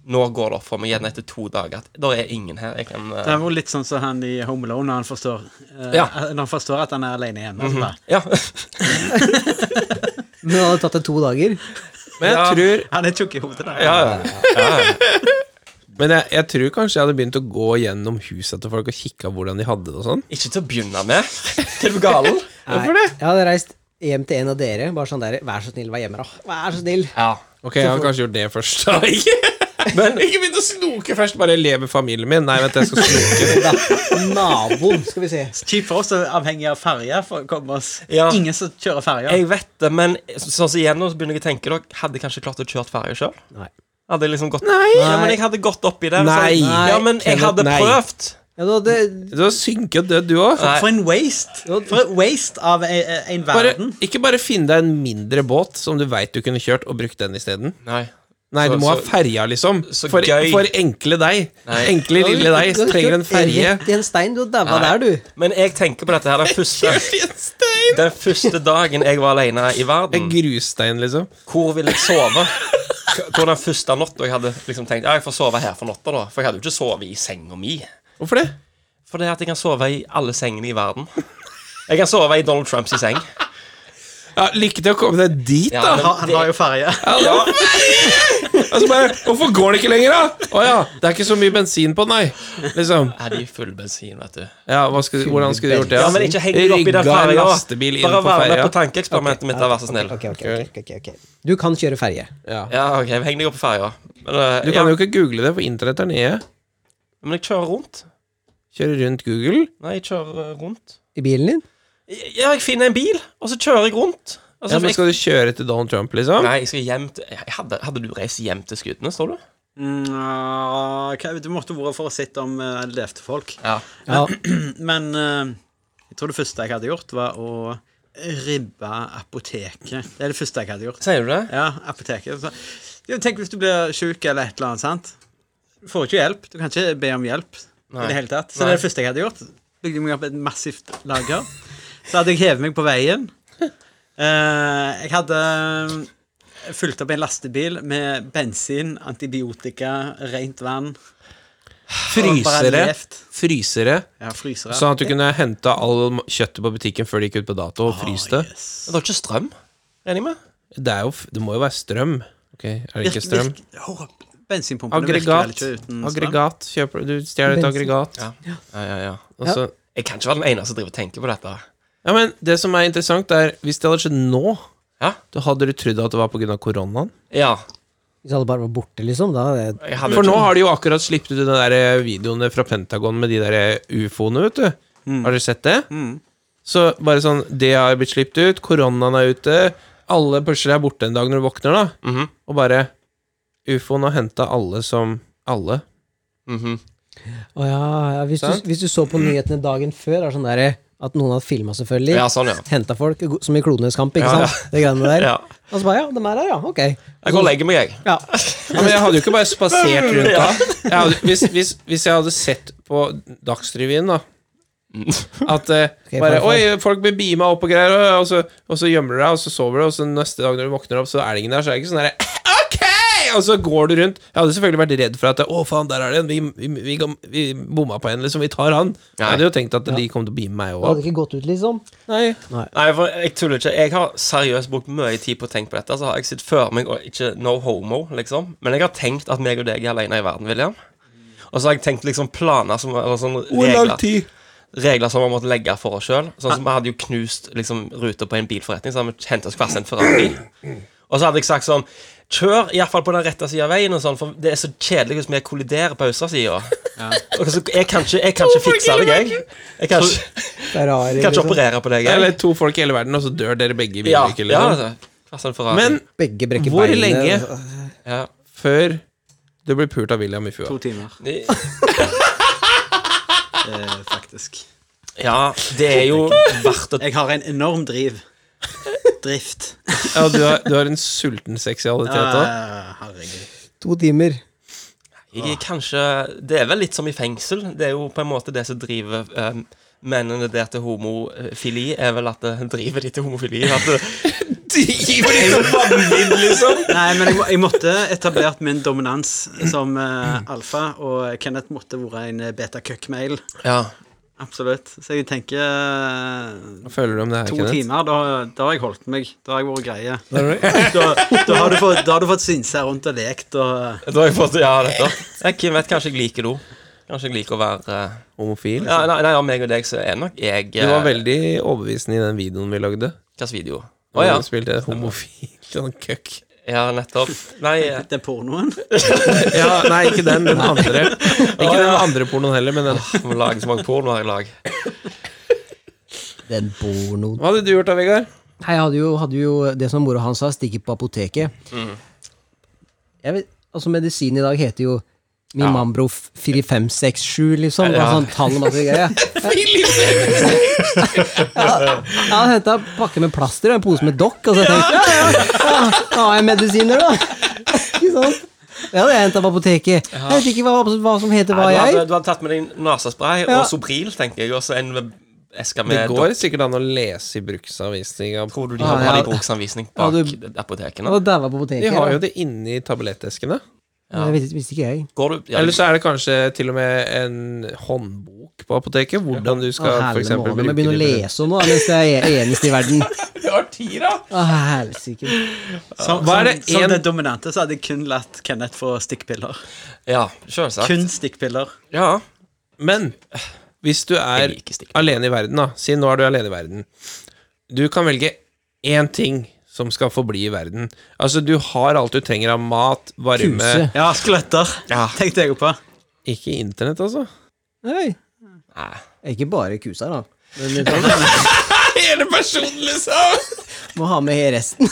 D: nå går det opp for meg igjen etter to dager at der er ingen her. Jeg kan,
F: Det
D: eh,
F: er jo litt sånn som han i Home Alone, når han forstår, eh,
D: Ja. Mhm.
F: når han forstår at han er alene hjemme. altså bare,
D: ja,
C: Men det hadde tatt det to dager.
E: Men jeg
D: Ja.
E: tror
F: Han er tjukk i hodet. Der.
D: ja, ja.
E: Men jeg, jeg tror kanskje jeg hadde begynt å gå gjennom huset til folk og kikka hvordan de hadde det og sånn.
D: Ikke til å begynne med. Er du galen?
C: Hvorfor det? Jeg hadde reist hjem til en av dere. Bare sånn der, Vær så snill, vær hjemme, da. Vær så snill.
D: Ja.
E: Ok, jeg har kanskje gjort det først. da. Ikke- ikke begynn å snoke først. Bare le med familien min. Nei, vent, jeg skal snoke.
C: Da, naboen, skal vi se.
F: Kjipt for oss å avhenge av ferje. for å komme oss-
D: Ja.
F: Ingen som kjører ferje.
D: sånn Jeg vet det, men så, så igjen nå så begynner jeg å tenke dere hadde kanskje klart å kjøre ferje sjøl.
C: Nei.
D: Hadde jeg liksom gått
E: Nei.
D: Ja, men jeg hadde gått oppi der. og så-
B: Nei.
D: Ja, men jeg
B: Kenneth,
D: hadde
B: nei.
D: prøvd.
C: Ja, da, det,
B: Du har synket død, du òg.
D: Nei.
F: For en waste! For en waste av en, en
E: Bare,
F: verden.
E: ikke bare finn deg en mindre båt som du veit du kunne kjørt, og brukt den isteden.
D: Nei.
E: Nei,
D: Så-
E: du må ha
D: så-
E: ferja, liksom.
D: så
E: for,
D: gøy.
E: for enkle deg.
D: Nei.
E: Enkle, lille deg
C: Du
E: som
C: har
E: trenger en
C: kjørt
E: ferje.
C: Rett i en stein. Du daua
D: Nei.
C: der, du.
D: Men jeg tenker på dette her den første,
E: Stein!
D: den første dagen jeg var alene i
E: Mm.
D: verden.
E: Grusstein, liksom.
D: Hvor ville jeg sove? Hvor den første natta jeg hadde liksom tenkt Ja, jeg får sove her for natta, da. For jeg hadde jo ikke sovet i senga mi.
E: Hvorfor det?
D: For det er at jeg kan sove i alle sengene i verden. Jeg kan sove i Donald Trumps i seng.
E: Ja, Lykke til å komme deg dit,
D: Ja,
E: da.
D: men
F: Han, han har jo ferje.
E: Altså bare, Hvorfor går det ikke lenger, da? Å ja, det er ikke så mye bensin på den, nei. Liksom.
D: Er de full bensin, vet du.
E: Ja, hva skulle, Hvordan skulle du gjort det?
D: Ja,
E: da?
D: men ikke heng deg opp i den
E: Rigga sånn. en
D: ferja.
E: lastebil inn
D: Bare
E: på
D: være med
E: ferja.
D: på tankeeksperimentet mitt, da, vær så snill.
C: Ok, ok, ok, ok, ok. Du kan kjøre ferje.
D: Ja, ok, heng deg opp på ferja. Men, eh,
E: Du
D: ja,
E: kan jo ikke google det, for internett er nede.
D: men jeg kjører rundt.
E: Kjøre rundt Google.
D: Nei, jeg kjører eh, rundt.
C: I bilen din.
D: Ja, jeg finner en bil, og så kjører jeg rundt. Altså,
E: Ja, men
D: jeg,
E: Skal du kjøre til Donald Trump, liksom?
D: nei, jeg skal hjem til jeg hadde, hadde du reist hjem til Skudenes, tror du?
F: Mm, ah, hva- du måtte vært for å sitte om uh, levde folk.
D: Ja.
C: Ja,
F: Men eh, jeg tror det første jeg hadde gjort, var å ribbe apoteket. Det er det første jeg hadde gjort.
D: Sier du det?
F: Ja, apoteket. Så, jo, tenk hvis du blir sjuk eller et eller annet, sant? Du får ikke hjelp. Du kan ikke be om hjelp i det hele tatt. Så det er det første jeg hadde gjort. Bygde meg opp et massivt lager. Så hadde jeg hevet meg på veien. Eh, jeg hadde eh, fulgt opp en lastebil med bensin, antibiotika, rent vann. og bare
E: Frysere.
F: levd.
E: Frysere.
F: Ja, frysere.
E: Sånn at du kunne hente all kjøttet på butikken før det gikk ut på dato, og fryse det.
D: Det var ikke strøm, regner jeg med?
E: Det, er jo, f- det må jo være strøm. Ok, Er det ikke strøm?
F: Virk, virk, Hå, bensinpumpene virker vel
E: Aggregat.
F: ikke uten strøm.
E: aggregat. Kjøper, du stjeler et
C: Bensin.
E: aggregat.
D: Ja. Ja, ja, ja.
E: Og så,
D: Jeg kan ikke være den eneste som driver og tenker på dette.
E: ja, men Det som er interessant, er hvis det hadde skjedd nå,
D: Ja.
E: da hadde du trodd at det var pga. koronaen.
D: Ja.
C: Hvis alle bare var borte, liksom. Da er det
D: Jeg hadde
E: For
D: jo
E: nå
D: ikke-
E: har de jo akkurat sluppet ut de der eh, videoene fra Pentagon med de der eh, ufoene, vet du. Har dere sett det? Så bare sånn Det har blitt sluppet ut, koronaen er ute, alle plutselig er borte en dag når du våkner, da,
D: Mhm.
E: og bare Ufoen har henta alle som alle.
D: Mhm.
C: Å ja, ja. Hvis,
D: Sånn.
E: Sant?
C: du, hvis du så på nyhetene dagen før, er det sånn der, at noen hadde filma, selvfølgelig.
D: Ja, sånn, ja.
C: Henta folk, go- som i Klonenes kamp, ikke
D: Ja, ja.
C: sant? Det greiene der.
D: Ja.
C: Og så bare ja, de er her, ja. Ok.
D: Jeg går og legger meg, jeg.
C: Ja.
E: Ja, men jeg hadde jo ikke bare spasert rundt da. Jeg hadde, hvis, hvis, hvis jeg hadde sett på Dagsrevyen, da At eh,
C: Ok,
E: bare
C: farfar.
E: Oi, folk blir beama opp og greier, og, og, så, og så gjemmer du deg, og så sover du, og så neste dag når du våkner opp, så er det ingen der, så er det ikke sånn derre OK! Og så går du rundt. Jeg hadde selvfølgelig vært redd for at Å, faen, der er det en. Vi, vi, vi, vi bomma på en, liksom. Vi tar han. Jeg hadde jo tenkt at de kom til å beame meg
C: Det hadde
E: òg.
C: ikke gått ut, liksom.
E: Nei.
D: Nei, for jeg tuller ikke. Jeg har seriøst brukt mye tid på å tenke på dette. Så har jeg sett før meg og ikke no homo, liksom. Men jeg har tenkt at meg og deg er alene i verden, William. Og så har jeg tenkt liksom planer som eller sånn regler,
E: tid?
D: regler som vi måtte legge for oss sjøl. Sånn som
C: Ah.
D: vi hadde jo knust liksom, ruter på en bilforretning, så hadde vi hentet oss hver sin Ferrari. Og så hadde jeg sagt sånn Kjør iallfall på den rette sida av veien, og sånn, for det er så kjedelig hvis vi kolliderer på østsida. Og så- Jeg kan ikke, jeg kan ikke fikse det, jeg. Jeg kan ikke,
C: Det er rar,
D: jeg kan ikke
C: liksom.
D: operere på deg, jeg.
E: Eller to folk i hele verden, og så dør dere begge i
D: Ja,
E: bilulykker,
D: ja
E: liksom.
D: altså. Hva sa du for
E: Men
C: Begge brekker
E: hvor
C: beinet. altså.
E: lenge
D: ja.
E: før du blir pult av William i fua?
F: To timer, eh, faktisk.
D: ja, det er jo verdt å
F: Jeg har en enorm driv. Drift.
E: Ja, du har, du har en sulten seksualitet òg.
F: Eh, herregud.
C: To timer.
D: jeg er kanskje, Det er vel litt som i fengsel. Det er jo på en måte det som driver eh, mennene der til homofili, er vel at det driver de til homofili. At det,
E: liksom.
F: Nei, men jeg, må- jeg måtte etablert min dominans som eh, alfa, og Kenneth måtte vært en beta-cuck-mail.
D: ja.
F: Absolutt. Så jeg tenker eh,
E: Hva føler du om det her,
F: to
E: Kenneth?
F: timer, da, da har jeg holdt meg. Da har jeg vært greie. Da, da, har, du fått, da har du fått synse her rundt og lekt og
D: Da har jeg fått Ja, dette. Jeg, Kim vet kanskje jeg liker do. Kanskje jeg liker å være eh,
E: Homofil?
D: ja, Nei, nei, av meg og deg så er nok jeg eh,
E: Du var veldig overbevisende i den videoen vi lagde.
D: Hvilken video? Å
E: Når
D: ja.
E: Du spilte homofil sånn køkk.
D: ja, nettopp. Nei, eh,
F: den pornoen.
E: Ja, nei, ikke den. Den andre. Ikke den andre pornoen heller, men den.
D: vi må lage så mange pornoer i lag.
C: Den bor noe
E: Hva hadde du gjort da, Vegard? Mhm.
C: Nei, jeg hadde jo, hadde jo det som mora hans sa, stikke på apoteket. Jeg vet, Altså, medisin i dag heter jo min
D: Ja.
C: Mambro 4567, liksom. Ja.
D: Ja.
C: Sånn tall og masse greier. Jeg hadde henta pakke med plaster og en pose med dokk, og så tenkte jeg ja, ja, ja, da har jeg medisiner, da. Ikke sant? Det hadde jeg henta på apoteket. Jeg vet ikke hva, altså, hva som heter hva
D: Nei, du, hadde,
C: jeg.
D: du hadde tatt med deg nesespray
C: Ja.
D: og Sobril, tenker jeg, og så en eske
E: Det
D: med
E: går sikkert an å lese i bruksanvisninga.
D: Tror du de
C: Ah,
D: har,
C: ja.
D: har de bruksanvisning bak
C: Ja, Jeg
D: apotekene?
C: hadde daua på apoteket.
E: De har
C: da.
E: jo det inni tabletteskene.
C: Men Det visste, visste ikke jeg.
D: Går du ja,
E: Eller så er det kanskje til og med en håndbok på apoteket. Hvordan du
C: Å,
E: skal for
C: herre
E: eksempel
C: måne, jeg
E: bruke
C: begynner å
E: de-
C: lese om noe mens jeg er eneste i verden.
D: Du har ti, da!
C: Å, helsike.
F: Som,
E: Hva er
F: som,
E: det
F: som
E: en-
F: det dominante så hadde jeg kun latt Kenneth få stikkpiller.
D: Ja, selvsagt.
F: Kun stikkpiller.
D: Ja.
E: Men hvis du er
D: Jeg liker stikk.
E: alene i verden, da Si nå er du alene i verden. Du kan velge én ting som skal forbli i verden. Altså, du har alt du trenger av mat, varme
C: Kuse.
F: Ja, skeletter. Tenkte jeg jo på.
E: Ikke internett, altså.
C: Nei.
D: Nei.
C: Ikke bare kusa, da. Men Hele personen, liksom! Må ha med resten.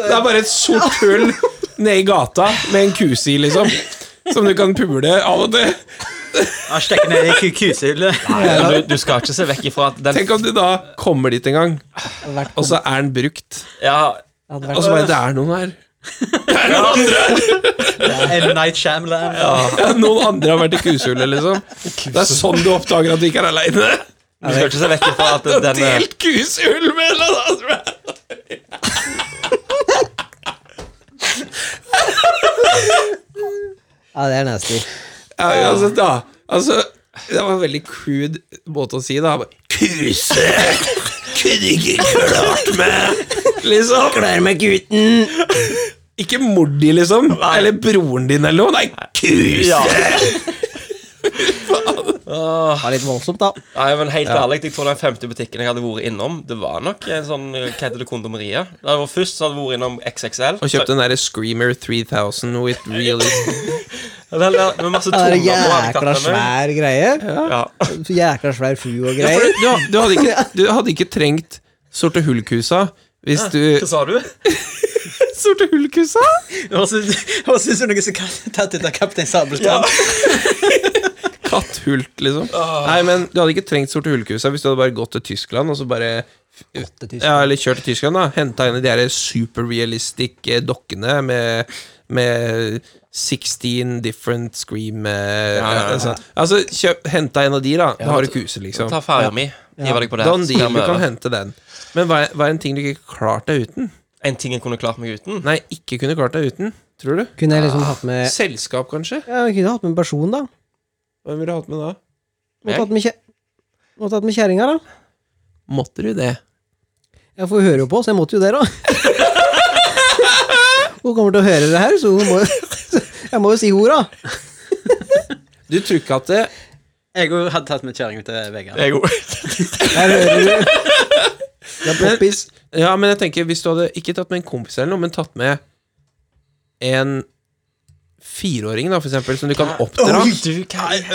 E: Det er bare et sort hull nede i gata med en kuse i, liksom. Som du kan pule av og til.
F: Ja, Stekke ned i ku- kusehullet.
D: Du, du skal ikke se vekk ifra at den
E: Tenk om du da kommer dit en gang,
C: Vært
E: og så er den brukt.
D: Ja,
C: hadde
E: Og
C: vært
E: så bare Det er noen her.
F: En Night Shyamalan.
E: Ja, noen andre har vært i kusehullet, liksom. Det er sånn du oppdager at du ikke er aleine.
D: du skal ikke se vekk ifra at den eh,
E: Delt kusehull med en eller annen!
C: Ja, det er nasty.
E: Ja, altså, da, altså, det var en veldig crude måte å si det på. Kuse! Kunne ikke klart meg! Liksom. Klær meg, gutten! Ikke mor di, liksom. Eller broren din, eller noe. Nei, kuse!
C: Det var litt voldsomt, da.
D: Nei, men helt ærlig, jeg tror den femte butikken jeg hadde vært innom, det var nok en sånn eh, Hva heter det, kondomeriet? Det var først så hadde jeg vært innom XXL.
E: Og kjøpte den derre Screamer 3000 with realism.
D: Så- Den der Med masse
C: Det
D: toner
C: er
D: på. hadde jeg tatt
C: jækla
D: med meg.
C: svær greie.
D: Ja.
C: Så Jækla svær fu og
E: Ja, for
C: greier.
E: du, du, hadde ikke, du hadde ikke trengt sorte hull-kusa hvis du
D: Hva sa du?
E: Sorte hull-kusa?
F: Hva syns du noe som kan tatt ut av Kaptein Sabeltann?
E: Katthult, liksom. Nei, men du hadde ikke trengt sorte hull-kusa hvis du hadde bare gått til Tyskland og så bare
C: Tyskland.
E: Ja, eller kjørt til Tyskland, da. Henta inn de der superrealistic eh, dokkene med, med 16 different scream eh,
D: Ja, ja, ja.
E: Altså, altså kjøp, henta en av de, da. Da har du kuse, liksom.
D: Ta ferja mi. Hiver deg på det.
E: Don
D: Så
E: Deal,
D: kommer
E: du kan
D: over.
E: hente den. Men hva er, hva er en ting du ikke klarte deg uten?
D: En ting jeg kunne klart meg uten?
E: Nei, ikke kunne klart deg uten, tror du?
C: Kunne jeg liksom hatt med
E: Selskap, kanskje?
C: Ja, jeg kunne hatt med en person, da.
E: Hvem ville du hatt med da?
C: Måtte hatt med kje- Måtte hatt med kjerringa, da.
E: Måtte du det?
C: Ja, for hun hører jo på, så jeg måtte jo det, da. Hun kommer til å høre det her, så hun må jo Jeg må jo si hora.
E: Du tror ikke at det
F: Jeg òg hadde tatt med kjerringa til Vegard.
D: Jeg òg.
C: Der hører du. Det er poppis.
E: Ja, men jeg tenker hvis du hadde ikke tatt med en kompis eller noe, men tatt med en fireåring, da, for eksempel, som du kan oppdra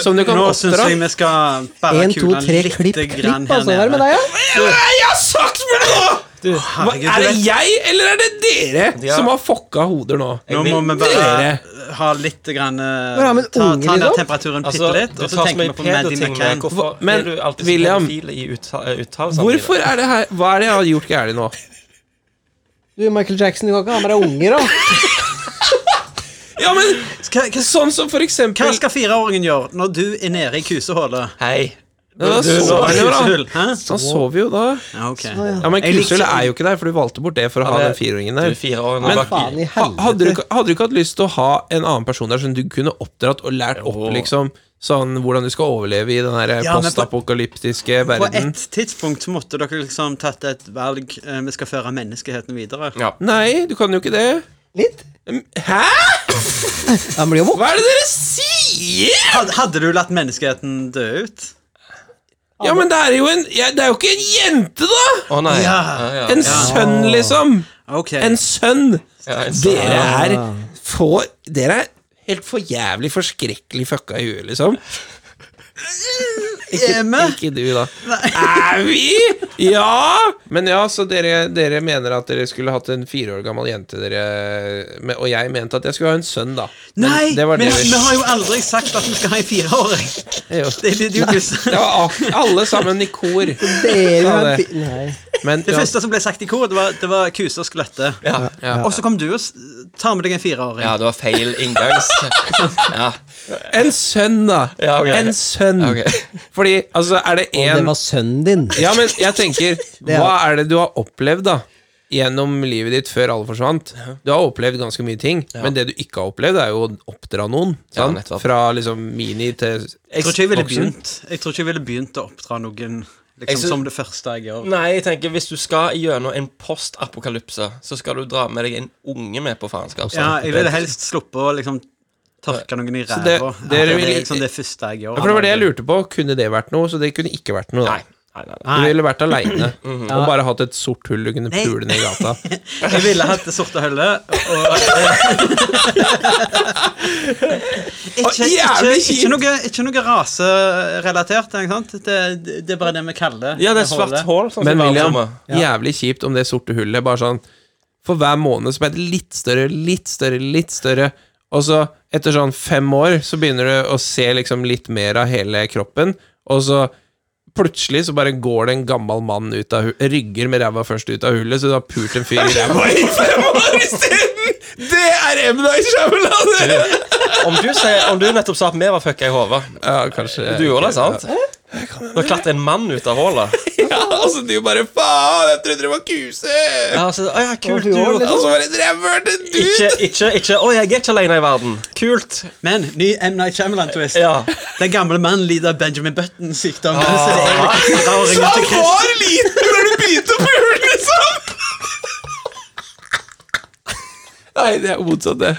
E: Som du kan
F: Nå syns
E: oppdra
F: jeg vi skal bare
C: Én, to,
F: kule
C: tre,
F: litt
C: klipp, klipp,
F: grann her
C: altså. Hva er det med
F: nede.
C: deg, da?
E: Jeg har sagt for det nå!
F: Å, herregud,
E: Er
F: du
E: det
F: vet,
E: jeg, eller er det dere
D: Ja.
E: som har fokka hoder nå?
F: Nå
D: Jeg
F: må
D: vil-
F: vi bare ha litt grann, eh,
C: Hva er det med unger
F: ta, ta
C: i
F: ned
C: dag?
F: temperaturen bitte
D: Altså,
F: litt,
D: du
F: og så
D: tar så
F: tenker
D: mye
F: vi på Maddie
D: pedo-ting med
F: McCann.
D: Hvorfor
E: Men,
D: er du alltid så
E: William,
D: pedofil i eh, uttale- uttalelsene
E: Hvorfor
D: dine?
E: er det her Hva er det jeg har gjort gærent nå?
C: Du, Michael Jackson, du kan ikke ha med deg unger, da.
E: Ja, men
F: Skal- hva-
E: sånn som for
F: Hva
E: eksempel
F: skal fireåringen gjøre når du er nede i kusehullet?
D: Hei.
E: Ja, da sover han jo, da.
F: Kusehull, hæ?
E: Han sover jo da.
F: Ja, ok.
E: Ja, Men
F: Jeg liker-
E: kusehull er jo ikke der, for du valgte bort det for å ha
D: det-
E: den fireåringen
D: Du er
E: der.
D: fire år
E: Men
D: gammel.
C: Faen i
E: Ha- Hadde du,
C: helvete.
E: ikke- hadde du ikke hatt lyst til å ha en annen person der som du kunne oppdratt og lært opp liksom sånn hvordan du skal overleve i den her eh,
F: Ja, men på-
E: postapokalyptiske
F: På
E: verden?
F: et tidspunkt så måtte dere liksom tatt et valg eh, Vi skal føre menneskeheten videre.
D: Ja.
E: Nei, du kan jo ikke det.
C: Litt.
E: Hæ?!
C: Han blir jo voksen.
E: Hva er det dere sier?!
F: Had, hadde du latt menneskeheten dø ut?
E: Ja, men det er jo en ja, Det er jo ikke en jente, da!
D: Å nei.
F: Ja.
D: ja.
E: En sønn, liksom.
F: Ok.
E: En sønn.
D: Ja, en sønn.
E: Dere er få Dere er helt for jævlig forskrekkelig fucka i huet, liksom.
F: Hjemme?
E: Ikke du, da. Er vi?! Ja! Men ja, så dere, dere mener at dere skulle hatt en fire år gammel jente, dere men- Og jeg mente at jeg skulle ha en sønn, da. Men
F: Nei!
E: det var
F: men,
E: det vi-
F: vi har jo aldri sagt at vi skal ha en fireåring.
E: Jo.
F: Det er litt idiotisk.
E: Det var ak- alle sammen i kor.
C: Dere
E: Sa
C: har
E: det.
C: fi- Nei.
E: Men
F: Det
E: ja,
F: første som ble sagt i kor, det var, det var kuse og skelette. Og så kom du og s- tar med deg en fireåring.
D: sånn- Ja, det var feil inngangs. Ja,
E: en sønn, da.
D: Ja, ok.
E: En sønn.
D: ok.
E: Fordi, altså, er det
C: Og det
E: én
C: var sønnen din.
E: Ja, men jeg tenker
C: er-
E: Hva er det du har opplevd da Gjennom livet ditt før alle forsvant Du har opplevd ganske mye ting Men det du ikke har opplevd er jo å oppdra noen
D: Ja,
E: sant?
D: nettopp.
E: Fra liksom mini til
F: Jeg tror ikke jeg ville
E: voksen.
F: begynt Jeg tror ikke jeg ville begynt å oppdra noen
D: Jeg
F: liksom,
D: synes-
F: som det første jeg gjør.
D: Nei, jeg tenker hvis du skal gjennom en postapokalypse, så skal du dra med deg en unge med på faenskap.
F: Ja, jeg ville helst sluppe å liksom tørke noen i ræva.
E: det-
F: Ja,
E: dere
F: det er
E: vil-
F: liksom det første jeg gjør.
E: ja, For det var det jeg lurte på Kunne det vært noe? Så det kunne ikke vært noe da
D: Nei, Mhm. nei, nei, nei.
E: Du ville vært alene Og bare hatt et sort hull du kunne pule ned i gata
F: Jeg ville hatt det sorte hullet og ikke, ikke,
E: jævlig
F: ikke, noe, ikke noe raserelatert, ikke sant? Det, det er bare det vi kaller
D: Ja, det er svart
F: hullet.
D: hull. Sånn
E: Men
D: som
E: William,
D: verdensrommet.
E: jævlig kjipt om det sorte hullet bare sånn For hver måned så blir det litt større, litt større, litt større. Og så, etter sånn fem år, så begynner du å se liksom litt mer av hele kroppen, og så plutselig så bare går det en gammel mann ut av hullet Rygger med ræva først ut av hullet, så du har pult en fyr i ræva i fem år isteden! Det er Emna i Shyamalan!
D: Om du, sier, om du nettopp sa at vi var fucka i hodet
E: Ja, kanskje
D: Du gjorde det, sant? Da klatra en mann ut av hullet.
E: Ja, og så du bare Faen, jeg trodde det var kuse!
D: Ja, så, å, ja,
C: Å,
D: kult, du
C: fy,
D: gjorde det.
E: Og så var det en rævhøl til du!
D: Ikke, ikke, ikke Å, jeg er ikke alene i verden. Kult.
F: Men ny M. Night Shyamalan-twist.
D: Ja.
F: Den gamle mannen lider av Benjamin Button-sykdom. Så det er egentlig fireåringen til Chris.
E: var liten når du begynte å pule, liksom! Nei, det er motsatt, det.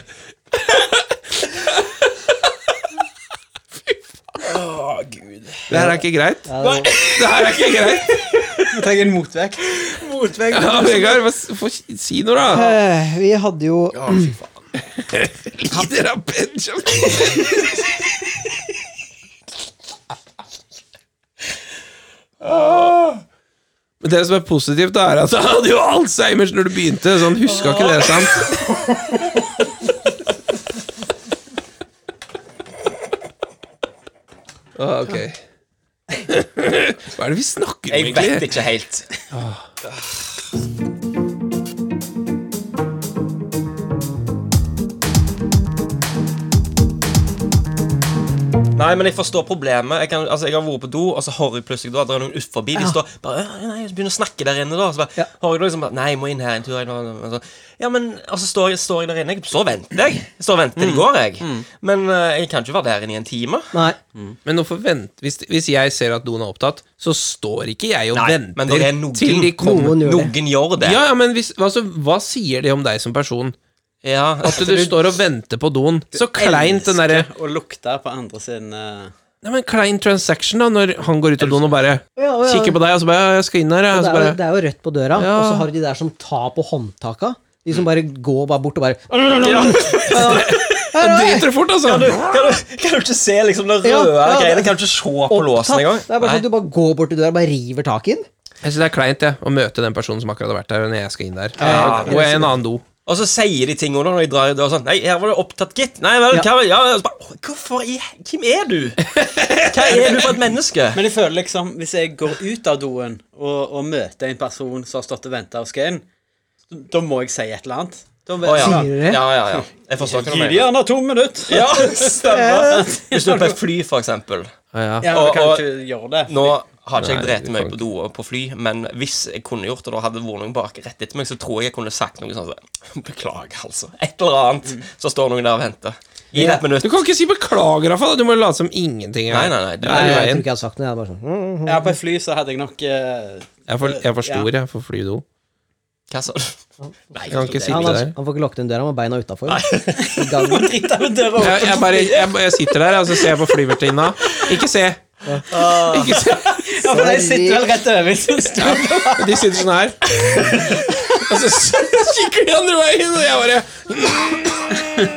E: Fy faen. Å, Gud. Det her er ikke greit. Nei, det her er ikke greit.
F: Vi trenger en motvekt. Motvekt.
E: Ja, Vegard, hva s- få si- si noe, da.
C: Eh, Vi hadde jo
E: Lider av Benjamin. Åh. Ah. Men det som er positivt, da, er at han hadde jo Alzheimers når du begynte. Så han huska ikke det, sant? Åh, Ah, ok. Hva er det vi snakker om,
D: Jeg
E: egentlig?
D: vet ikke helt. Nei, men jeg forstår problemet. Jeg, kan, altså, jeg har vært på do, og så hører jeg plutselig da, at det er noen ut forbi. De står bare, «Å, nei, jeg begynner å snakke der inne, da. Så bare, hører jeg da liksom bare, nei, jeg må inn her en tur. Jeg, må- og så, ja, men, og så står jeg, står jeg der inne. Jeg står og venter, jeg. Jeg står og venter til de går, jeg. Men eh, jeg kan ikke være der inne i en time.
C: Nei.
E: Men hvorfor vent hvis, hvis jeg ser at doen er opptatt, så står ikke jeg og
D: Nei,
E: venter
D: men det er noen,
E: til de kommer.
C: Noen gjør det.
D: noen gjør det.
E: Ja, ja, men hvis, altså, hva sier det om deg som person?
D: Ja,
E: At du, står og venter på doen. Så kleint den derre
F: Å lukte på andre sin eh,
E: Nei, men Klein transaction, da, når han går ut av doen og bare
C: Ja, ja.
E: kikker på deg, og så bare «Ja, 'Jeg skal inn her', jeg. Og så
C: Det er, jo,
E: bare
C: det er jo rødt på døra,
E: Ja. Mm.
C: og så har du de der som tar på håndtaka. De som bare går bare bort og bare
E: Da driter du fort, altså!
D: Kan du, kan du ikke se liksom det røde
C: Ja, ja,
D: greiene?
C: det-
D: Kan du ikke se på låsen
C: opptatt.
D: engang?
C: Det er bare sånn at du bare går bort til døra og bare river tak i den.
E: Jeg syns det er kleint jeg, å møte den personen som akkurat har vært der, når jeg skal inn der.
D: Ja,
E: Går jeg i en annen do?
D: Og så sier de ting under når de drar i døra sånn Nei, her var det opptatt, gitt. Nei, vel,
C: Ja.
D: hva, ja. og så bare, «Åh, Hvorfor i Hvem er du? Hva er du for et menneske?
F: Men jeg føler liksom, hvis jeg går ut av doen og, og møter en person som har stått og venta og skal inn, da må jeg si et eller annet. Da vet
D: Å, ja.
C: Sier du det?
D: ja, ja, ja. Jeg forstår hva du
F: Gi de
D: mener.
F: gjerne to minutter.
D: Ja, stemmer. Hvis du er på et fly, for eksempel.
E: Ja, ja.
F: Ja, men
D: Og-
F: kan
D: og-
F: ikke gjøre det.
D: Nå har ikke jeg
E: Nei,
D: drept
E: vi
D: meg
E: kan
D: på do og på fly, men hvis jeg kunne gjort det, og det hadde vært noen bak rett etter meg, så tror jeg jeg kunne sagt noe sånn som, Beklager, altså. Et eller
E: Mm.
D: annet. Så står noen der og venter. Gi det et minutt.
E: Du kan ikke si 'beklager', iallfall. Du må late som ingenting.
D: Nei, nei, nei. Du,
E: Ja,
C: Nei,
E: ja,
C: jeg
E: en.
C: tror ikke jeg har sagt noe. Jeg er bare sånn mm.
F: Ja, på et fly så hadde jeg nok eh,
E: Jeg er for, jeg er for stor, jeg, for flydo.
D: Hva sa du? Nei,
E: Jeg kan ikke
C: han,
E: sitte
C: har,
E: der.
C: han får ikke lukket den døra, han har beina utafor. I gangen.
F: Drita med døra
E: Jeg, jeg, bare, jeg, jeg sitter der, og så ser jeg på flyvertinna. Ikke se!
C: Ah.
E: Ikke se.
F: Ja, for jeg sitter vel rett over. synes du?
E: Og De sitter sånn her. Og så kikker de andre veien, og jeg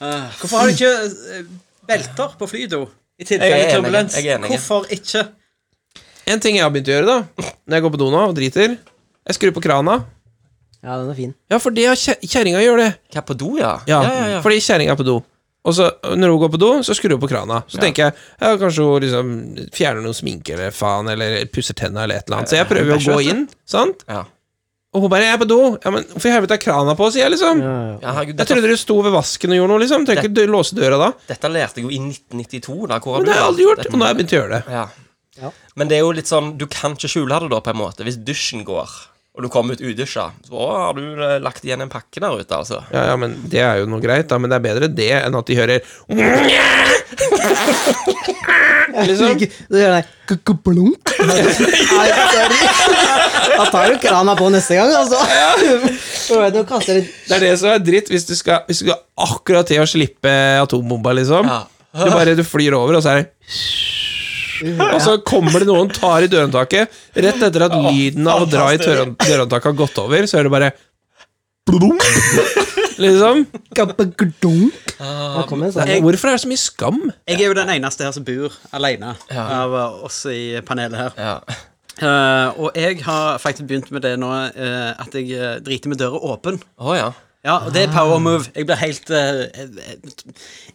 E: bare
F: Hvorfor har de ikke eh, belter på flydo? I tilfelle
D: Jeg er enig,
F: turbulens.
D: jeg er enig.
F: Hvorfor ikke?
E: En ting jeg har begynt å gjøre, da, når jeg går på do nå og driter Jeg skrur på krana.
C: Ja, den er fin.
E: Ja, for det har kje- kjerringa gjør, det.
D: Hva på do, ja?
E: Ja,
D: ja, ja, ja.
E: Fordi kjerringa er på do. Og så når hun går på do, så skrur hun på krana. Så tenker jeg ja, kanskje hun liksom fjerner noe sminke eller faen, eller pusser tenna eller et eller annet. Så jeg prøver jo å gå inn, sant?
D: Ja.
E: Og hun bare 'Jeg er på do'. Ja, men hvorfor i helvete er krana på, sier jeg liksom.
C: Ja, ja.
D: Ja, herregud,
E: Jeg
D: dette,
E: trodde du sto ved vasken og gjorde noe, liksom. Tenker ikke låse døra da.
D: dette lærte jeg jo i 1992. Da, hvor
E: Men det har jeg aldri gjort, og nå har jeg begynt å gjøre det.
D: Ja.
C: Ja.
D: Men det er jo litt sånn, du kan ikke skjule det da, på en måte. Hvis dusjen går, og du kommer ut udusja, så å, har du eh, lagt igjen en pakke der ute, altså.
E: Ja, ja, men Det er jo noe greit, da, men det er bedre det enn at de hører
C: Liksom. Du gjør det K-k-blunk. Nei, sorry. Da tar du krana på neste gang, altså. For du vet, nå kaster du
E: Det er det som er dritt, hvis du skal, hvis du skal akkurat til å slippe atombomba, liksom.
D: Ja.
E: Du bare du flyr over, og så er det Og så kommer det noen, tar i dørhåndtaket. Rett etter at lyden av å dra i dørhånd- dørhåndtaket har gått over, så hører du bare blum, Liksom.
C: K-k-dunk. Da kommer en sånn.
E: Hvorfor er det så mye skam?
F: Jeg er jo den eneste her som bor alene av eh, oss i panelet her.
D: Ja.
F: Eh, og jeg har faktisk begynt med det nå eh, at jeg eh, driter med døra åpen.
D: Å ja.
F: Ja, og det er
D: Ah.
F: power move. Jeg blir helt eh, eh,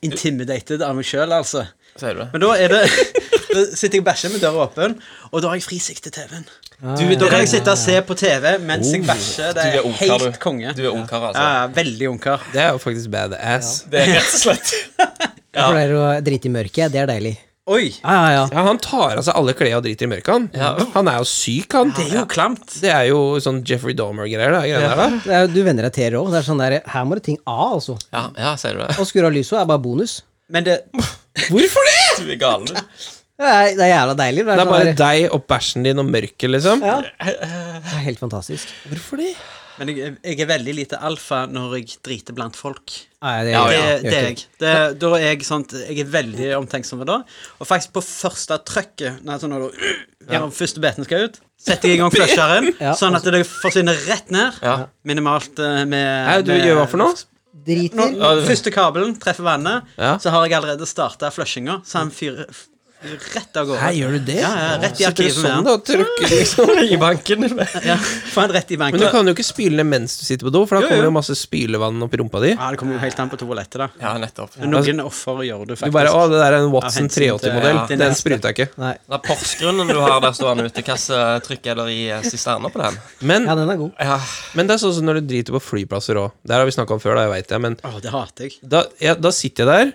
F: intimidated av meg sjøl, altså.
D: Sier du det?
F: Men da er det Da sitter jeg og bæsjer med døra åpen, og da har jeg fri sikt til TV-en. Da kan jeg sitte og se på TV mens jeg bæsjer.
D: Oh.
F: Det
D: Du
F: er
D: er ungkar,
F: helt
D: du.
F: konge.
D: Du er ungkar, altså.
F: Ja, ja, veldig ungkar.
E: Det er jo faktisk badass.
D: Det er rett og slett
C: Jeg pleier å drite i mørket. Det er deilig.
F: Oi!
C: Ja, ja, ja.
E: Ja, Han tar av seg alle klærne og driter i mørket, han. Han er jo syk, han.
F: Det er jo klamt.
E: Det er jo sånn Jeffrey Dahmer-greier. det greiene der, da.
C: Det er, du venner deg til det òg. Det er sånn der Her må det ting av, altså.
D: Ja, ja sier du det?
C: Å skru av lyset er bare bonus.
F: Men det
E: Hvorfor det?!
D: Du er gal, du.
C: Det er, det er jævla deilig. Det er,
E: Det er bare
C: sånn der,
E: deg og bæsjen din og mørket, liksom.
C: Ja. det er helt fantastisk.
E: Hvorfor det?
F: Men jeg, jeg er veldig lite alfa når jeg driter blant folk.
C: Nei, det,
F: Det,
C: gjør
F: det er
C: ikke
F: jeg. Det, da er jeg sånn Jeg er veldig omtenksom da. Og faktisk på første trøkket, nei, sånn når du gjennom første beten skal ut, setter jeg i gang flusheren,
C: Ja.
F: sånn at det forsvinner rett ned.
D: Ja.
F: Minimalt eh, med,
E: Nei, du
F: med
E: gjør hva for noe?
C: Driter.
F: Når første kabelen treffer vannet,
E: Ja.
F: så har jeg allerede starta flushinga, så han fyrer fyrer rett av gårde.
E: Nei, gjør du det?
F: Ja, ja, rett i
E: Sitter du
F: arkivet med
E: sånn,
F: han.
E: da, og trykker liksom i banken? eller?
F: Ja, Får han rett i
E: Men du
F: banken.
E: kan jo ikke spyle ned mens du sitter på do, for da kommer det jo masse spylevann opp i rumpa di.
F: Ja, det kommer jo helt an på toalettet, da.
D: Ja, nettopp.
F: Men Noen offer gjør du
E: Du
F: faktisk.
E: bare 'Å, det der er en
F: Av
E: Watson
F: hensyn til-
E: 380-modell'.
F: ja, til
E: Den
F: neste.
E: spruta jeg ikke.
C: Nei.
D: Den Porsgrunnen du har der stående ute, hvilket trykk er det i eh, sisterna på den?
E: Men,
C: Ja, den er god.
D: Ja,
E: men det er sånn som når du driter på flyplasser òg. Det her har vi snakka om før, da, jeg vet det. Men
F: Å, det hater jeg.
E: da, ja, da sitter jeg der.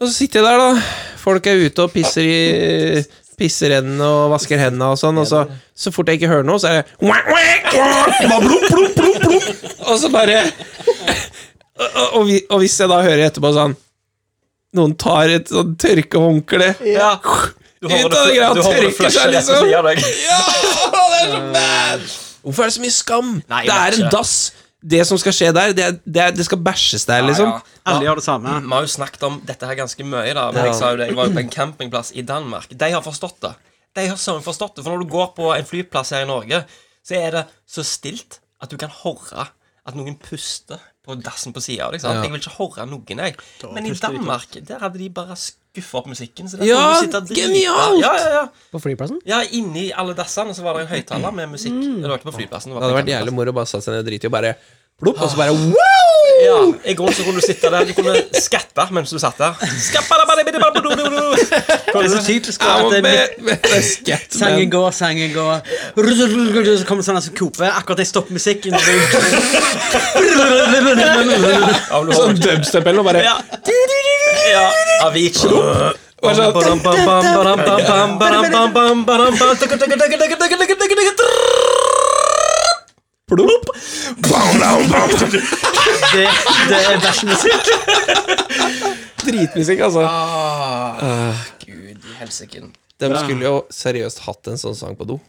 E: Og så sitter jeg der, da. Folk er ute og pisser i Pisser hendene og vasker hendene og sånn, og så, så fort jeg ikke hører noe, så er det «Wah, wah, wah!» Bare blum, blum, blum, blum. Og så bare og, og, og vi- og hvis jeg da hører etterpå sånn Noen tar et sånn tørkehåndkle ja.
D: Du
E: ut av det greia og tørker seg, liksom.
D: deg.
E: Hvorfor er det så mye skam?
D: Nei, jeg
E: det
D: vet
E: er en
D: ikke.
E: dass. Det som skal skje der, det, er, det, er, det skal bæsjes der, liksom.
D: Ja, ja.
F: Alle gjør det samme.
D: Vi har jo snakket om dette her ganske mye, da. Men jeg sa jo det, jeg var jo på en campingplass i Danmark. De har forstått det. De har søren forstått det. For når du går på en flyplass her i Norge, så er det så stilt at du kan høre at noen puster på dassen på sida. Liksom. Jeg vil ikke høre noen, jeg. Men i
F: puster de ikke.
D: Danmark, der hadde de bare skuffa opp musikken. Så der
E: Ja,
D: kunne du sitte og drite.
E: genialt!
D: Ja, ja, ja.
C: På flyplassen?
D: ja, inni alle dassene så var det en høyttaler med musikk. Det var ikke på
E: Mm.
D: flyplassen.
E: Det Ah. hadde vært jævlig moro å bare satt seg ned og drite i og bare plopp, og så bare wow!
D: Ja, I grunnen så kunne du sitte der. Du kunne skatte mens du satt der. Skappadabadabidababadabadu.
F: Det er så typisk
E: Ja,
F: at
E: men-
F: det er
E: men- men- det er skett,
F: Sangen
E: men-
F: går, sangen går Så kommer sånn som Kope. Akkurat jeg stopper musikken Ja,
D: Ja, men
E: Sånn
D: du holder-
E: dubstep eller noe, bare
D: Ja. Ja, Avicii.
E: bare sånn, plopp.
F: Det, det er bæsj musikk.
E: Dritmusikk, altså.
D: Gud i helsiken.
E: De skulle jo seriøst hatt en sånn sang på do.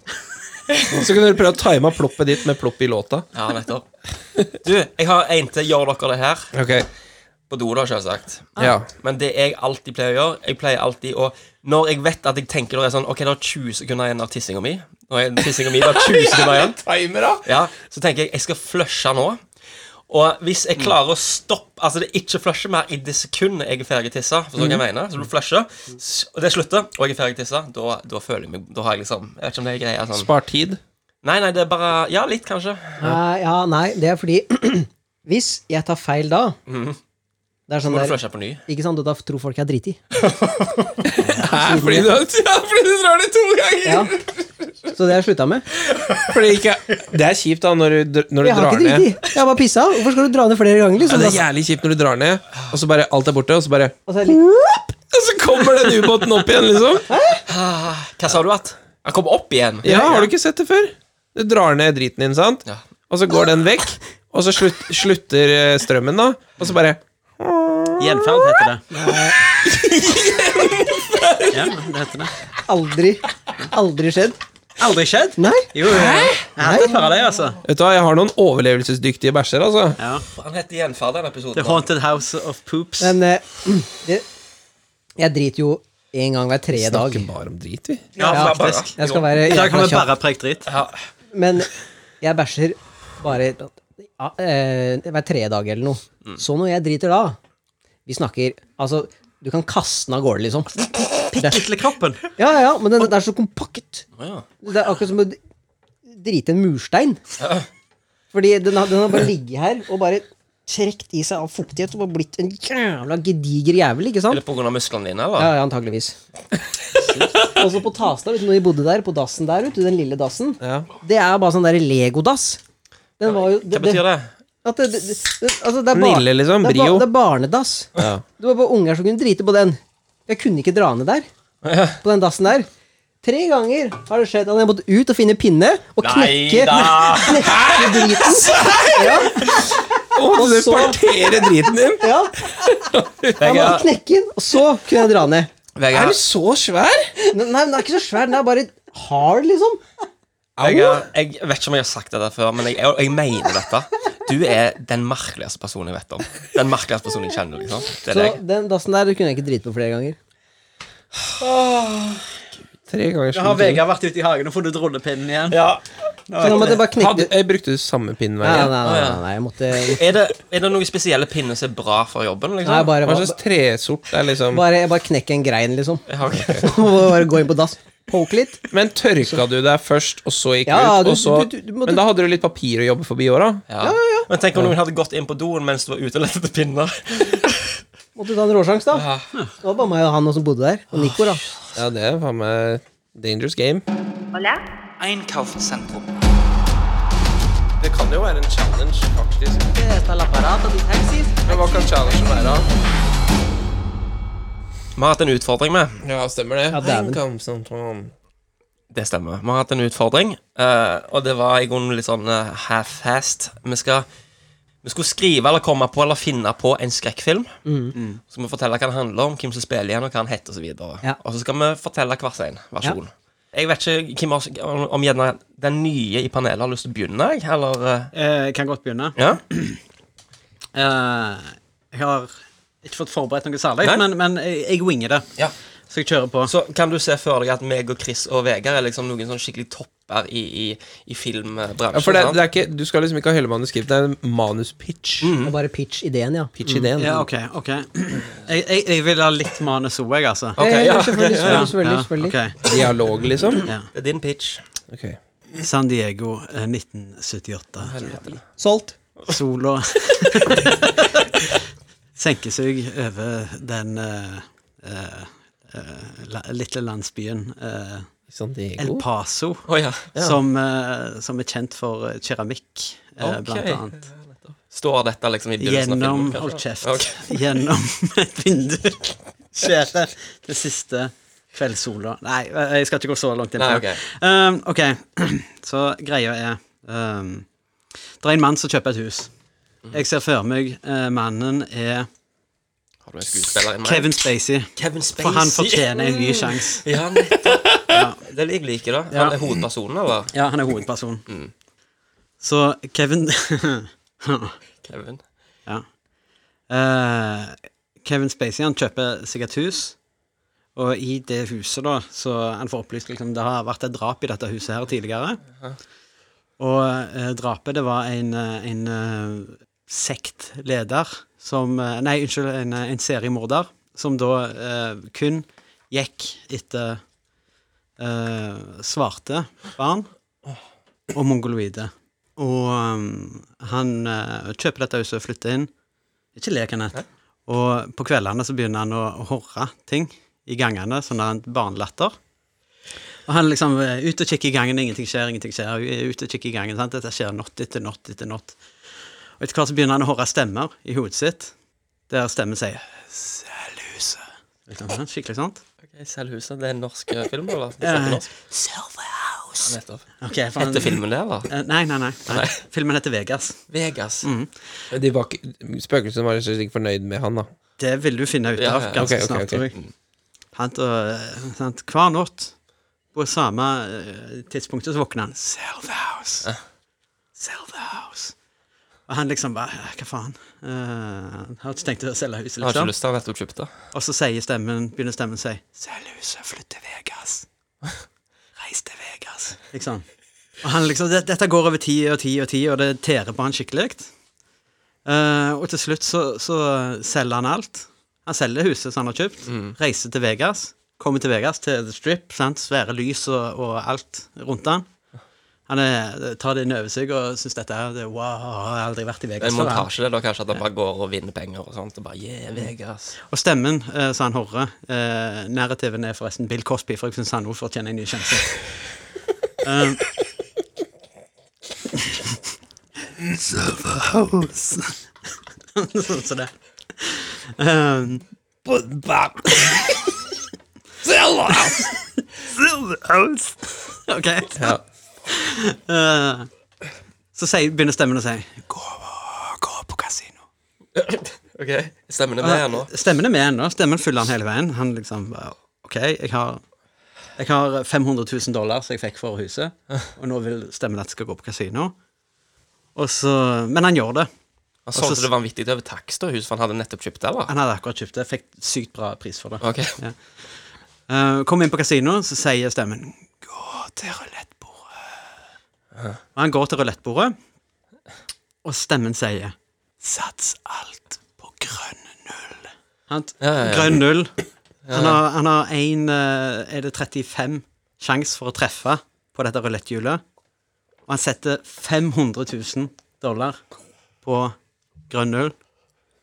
E: Så kunne du prøve å time av ploppet ditt med plopp i låta.
D: Ja, nettopp. Du, jeg har en til. Gjør dere det her?
E: Ok,
D: På do, da, selvsagt.
E: ja
D: Men det jeg alltid pleier å gjøre Jeg pleier alltid å Når jeg vet at jeg tenker det er sånn Ok, det er 20 sekunder igjen av tissinga mi. Når jeg- tissinga mi det er 20 sekunder igjen
E: Timer, da?
D: ja, Så tenker jeg jeg skal flushe nå. Og hvis jeg klarer å stoppe Altså det er ikke flusher mer i det sekundet jeg er ferdig tissa, forstår du hva jeg mener? Så du flusher, s- og det slutter, og jeg er ferdig tissa, da, da føler jeg meg Da har jeg liksom Jeg vet ikke om det er greia sånn
E: Spar tid.
D: Nei, nei, det er bare Ja, litt, kanskje.
C: Nei, ja, nei, det er fordi Hvis jeg tar feil da Det er sånn
D: Må du
C: der
D: flushe på ny.
C: Ikke sant, da tror folk jeg er driti.
E: Hæ, fordi du, ja, fordi du drar det to ganger!
C: Ja. Så det har jeg slutta med.
E: Fordi ikke, det er kjipt da når du, når du
C: Jeg har
E: drar
C: ikke
E: ned.
C: driti. Jeg har bare pissa. Hvorfor skal du dra ned flere ganger?
E: Ja,
C: Liksom?
E: det er jævlig kjipt når du drar ned, og så bare alt er borte, og så bare
C: Og så er jeg litt-
E: Og så kommer den ubåten opp igjen, liksom.
D: Hva sa du at? Han kom opp igjen.
E: Ja, Har du ikke sett det før? Du drar ned driten din, sant?
D: Ja.
E: Og så går den vekk, og så slutt, slutter eh, strømmen, da. Og så bare
F: Gjenferd heter det. Ja, det heter det.
C: aldri, aldri skjedd.
F: Aldri skjedd?
C: Nei.
F: Jo, jo. Jeg hadde et par av de, altså.
E: Vet du hva, jeg har noen overlevelsesdyktige bæsjer, altså.
F: Ja.
D: Han heter Gjenferd, den episoden.
F: The Haunted House of Poops.
C: Men eh, det, jeg driter jo en gang hver tredje dag.
E: Snakker bare om drit, vi.
D: Ja,
C: Ja,
D: faktisk.
C: Jeg skal være
F: I dag kan vi
C: kjapp.
F: bare preke dritt.
D: Ja.
C: Men jeg bæsjer bare ja, eh, hver tredje dag eller noe.
E: Mm.
C: Så når jeg driter da Vi snakker Altså, du kan kaste den av gårde, liksom. Det,
F: Kittle kroppen.
C: ja, ja, ja, men den, den er så kompakt.
D: Ja.
C: Det er akkurat som å drite en murstein. Fordi den har, den har bare ligget her og bare trukket i seg all fuktighet og bare blitt en jævla gediger jævel, ikke sant?
D: Eller på grunn av musklene dine, eller?
C: Ja, ja, antageligvis. Og så på Tasna, vet du, når vi bodde der, på dassen der, vet du, den lille dassen, det er bare sånn der Lego-dass. Den var jo
D: Hva betyr det?
C: At det, det, det, altså, det er bar-
E: Nille, liksom,
C: Det er,
E: Brio.
C: ba, det er barnedass. Det var bare unger som kunne drite på den. Jeg kunne ikke dra ned der. På den dassen der. Tre ganger har det skjedd at jeg har måttet ut og finne pinne og
D: Nei
C: knekke,
D: da.
C: knekke driten. Ja,
E: Og du
C: så-
E: parterer driten din.
C: ja. Jeg måtte knekke den, og så kunne jeg dra ned.
D: Vegard,
E: Er du så svær?
C: Nei, den er ikke så svær, den er bare hard, liksom.
D: Vegard, jeg vet ikke om jeg har sagt dette før, men jeg, jeg, jeg mener dette. Du er den merkeligste personen jeg vet om. Den merkeligste personen jeg kjenner. liksom Det er
C: Så
D: deg.
C: den dassen der kunne jeg ikke drite på flere ganger.
E: Tre ganger
F: Nå har
E: sju.
F: Vegard vært ute i hagen og funnet rullepinnen igjen.
C: Så nå måtte jeg bare knekke
E: Hadde, jeg brukte samme pinnen
C: Nei,
E: hver
C: nei,
E: gang.
C: nei, nei, nei jeg måtte
D: Er det, er det noen spesielle pinner som er bra for jobben? liksom?
C: Nei, bare,
E: Hva slags
C: bare,
E: tresort er liksom
C: bare, bare knekke en grein, liksom.
D: Ja, ok.
C: Og bare gå inn på dass. Poke litt.
E: Men tørka du deg først, og så gikk
C: Ja,
E: ut?
C: du-
E: og så,
C: du- du- du måtte-
E: men da hadde du litt papir å jobbe forbi òg, da?
D: Ja. Men tenk om noen hadde gått inn på doen mens du var ute og lette etter pinner.
C: Måtte ta en råsjanse, da. Det var bare meg og han også som bodde der. Og Nico, da.
E: Ja, det er faen meg dangerous game.
H: Einkaufszentrum.
E: Det kan jo være en challenge, faktisk. Men hva kan challengen være?
D: Vi har hatt en utfordring med.
E: Ja, stemmer det.
C: dæven.
D: Det stemmer. Vi har hatt en utfordring, eh, og det var i grunnen litt sånn eh, half-fast. Vi, skal, vi skulle skrive eller komme på eller finne på en skrekkfilm.
E: Mm.
D: Så skal vi fortelle hva den handler om, hvem som spiller igjen, og hva den heter osv. Og,
C: Ja.
D: og så skal vi fortelle hver sin versjon. Jeg vet ikke hvem av oss- om, om gjerne den nye i panelet har lyst til å begynne, jeg, eller eh,
F: Jeg kan godt begynne.
D: Ja?
F: Eh, Jeg har ikke fått forberedt noe særlig,
D: Nei.
F: men, men jeg jeg winger det.
D: ja.
F: Så jeg kjører på.
D: Så kan du se for deg at meg og Chris og Vegard er liksom noen sånn skikkelig topper i, i, i filmbransjen.
E: Ja, for det,
D: sant?
E: det er ikke, du skal liksom ikke ha hele manuskript, det er en manuspitch.
C: Det var Mm. bare pitch ideen, ja.
E: Pitch-ideen.
F: Ja, OK. ok Jeg, jeg, jeg vil ha litt manus òg, jeg, altså.
C: Eh,
D: Ok, ja, ok,
C: selvfølgelig, selvfølgelig, selvfølgelig,
F: Ja,
C: selvfølgelig.
F: ok.
E: Dialog, liksom.
D: det er din pitch.
E: Ok.
F: San Diego eh, 1978.
C: Solgt.
F: Sola senker seg over den eh, eh, eh, la, lille landsbyen eh,
E: San
F: El
E: Diego.
F: Paso,
D: Å ja.
F: som, eh, som er kjent for eh, keramikk, eh,
D: Ok.
F: blant annet.
D: Står dette liksom i begynnelsen
F: Gjennom
D: av filmen? kanskje?
F: Hold kjeft.
D: Ok.
F: Gjennom et vindu skjer det det siste kveldssola Nei, jeg skal ikke gå så langt inn på
D: Nei,
F: det. Um, ok, så greia er um, Det er en mann som kjøper et hus.
D: Mhm.
F: Jeg ser for meg eh, mannen er
D: Har du en skuespiller i meg?
F: Kevin Spacey.
D: Kevin Spacey.
F: For han fortjener en ny sjanse.
D: Ja, nettopp. Det liker jeg liker, da. Han
F: Ja.
D: er hovedpersonen, eller?
F: Ja, han er hovedpersonen.
D: Mm.
F: Så Kevin
D: Kevin.
F: Ja. Eh, Kevin Spacey han kjøper seg et hus, og i det huset da, så han får opplyst liksom, det har vært et drap i dette huset her tidligere. Og eh, drapet, det var en, eh, en eh, sektleder som eh, Nei, unnskyld, en, eh, en seriemorder som da eh, kun gikk etter eh, svarte barn og mongoloide. Og um, han eh, kjøper dette huset og flytter inn. Ikke le, Kenneth. Og på kveldene så begynner han å å horre ting i gangene, sånn der en barnelatter. Og han liksom er ute og kikker i gangen, ingenting skjer, ingenting skjer. er Ute og kikker i gangen, sant? Dette skjer natt etter natt etter natt. Og etter hvert så begynner han å høre stemmer i hodet sitt, der stemmen sier Sælhuset. Liksom, sånn, Skikkelig sant?
D: Okay, Selvhuset, det er en norsk eh, film, eller? Det
F: Ja.
D: er norsk.
F: Silverhouse.
D: Nettopp.
F: Okay, for han-
D: Etter filmen der, da?
F: Eh, Nei, nei, nei. nei.
D: Nei.
F: Filmen heter Vegas.
D: Vegas.
F: Mm,
E: Men de var ikke- Spøkelsene var rett og slett ikke fornøyd med han, da.
F: Det vil du finne ut
D: Ja,
F: av
D: ja,
F: ganske
E: ok, ok,
F: snart,
E: ok.
F: tror
D: Mm.
F: jeg. Han, og, eh, sant, hver natt på samme eh, tidspunktet så våkner han. Self-house. Self-house. Og han liksom bare eh, Hva faen? Eh, han har ikke tenkt å selge huset,
D: Jeg har ikke
F: liksom.
D: lyst til å nettopp kjøpt det.
F: Og så sier stemmen, begynner stemmen å si Selg huset, flytt til Vegas. Reis til Vegas. Liksom. Og han liksom, det, dette går over tid og tid og tid, og det tærer på han skikkelig. Eh, og til slutt så, så selger han alt. Han selger huset som han har kjøpt,
D: Mm.
F: reiser til Vegas, kommer til Vegas, til The Strip, sant? svære lys og, og alt rundt han. Han er, tar det inn over seg og syns dette er det, er Wow, jeg har aldri vært i
D: Det er
F: Vegas
D: en
F: før. jeg.
D: montasje, det, da, kanskje, at han bare går og vinner penger og sånt. Og bare,
F: Mm.
D: yeah, Vegas.
F: Og stemmen eh, som han hører, eh, narrativen er forresten Bill Cosby, for jeg syns han også fortjener en ny sjanse. um, sånn som det. Um, Ok. Eh, så sier, begynner stemmen å si Gå, gå på kasino.
D: Ok, Stemmer det med her nå?
F: Stemmen er med ennå. Stemmen følger han hele veien. Han liksom bare, OK, jeg har, jeg har 500 000 dollar som jeg fikk for huset, og nå vil stemmen at jeg skal gå på kasino. Og så, men han gjør det.
D: Han solgte
F: så-
D: det vanvittig over takst og hus, for han hadde nettopp kjøpt det, eller?
F: Han hadde akkurat kjøpt det. Fikk sykt bra pris for det.
D: Ok,
F: Eh, kom inn på kasino, så sier stemmen Gå til rulettbordet. Og han går til rulettbordet, og stemmen sier Sats alt på grønn null. Han,
D: ja, ja.
F: Grønn null. Han har, han har en, eh, Er det 35 sjanse for å treffe på dette ruletthjulet? Og han setter 500 000 dollar på grønn null.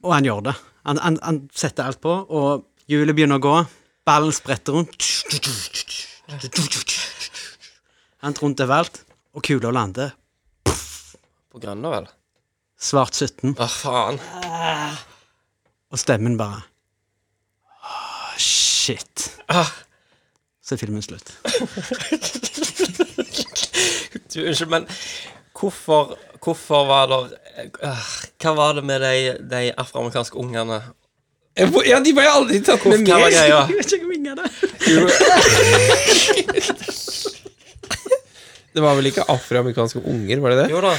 F: Og han gjør det. Han, han, han setter alt på, og hjulet begynner å gå. Ballen spretter rundt. Han rundt overalt, og kula lander.
D: På Grønna, vel?
F: Svart 17,
D: Å, faen.
F: og stemmen bare «Åh, Shit.
D: Ah,
F: Så er filmen slutt.
D: Du, unnskyld, men hvorfor, hvorfor var det øh, Hva var det med de, de afroamerikanske ungene?
E: Ja, de var jo aldri tatt med
D: Hva var
E: mer!
D: greia?
E: Det var vel ikke afroamerikanske unger, var det det?
D: Jo da,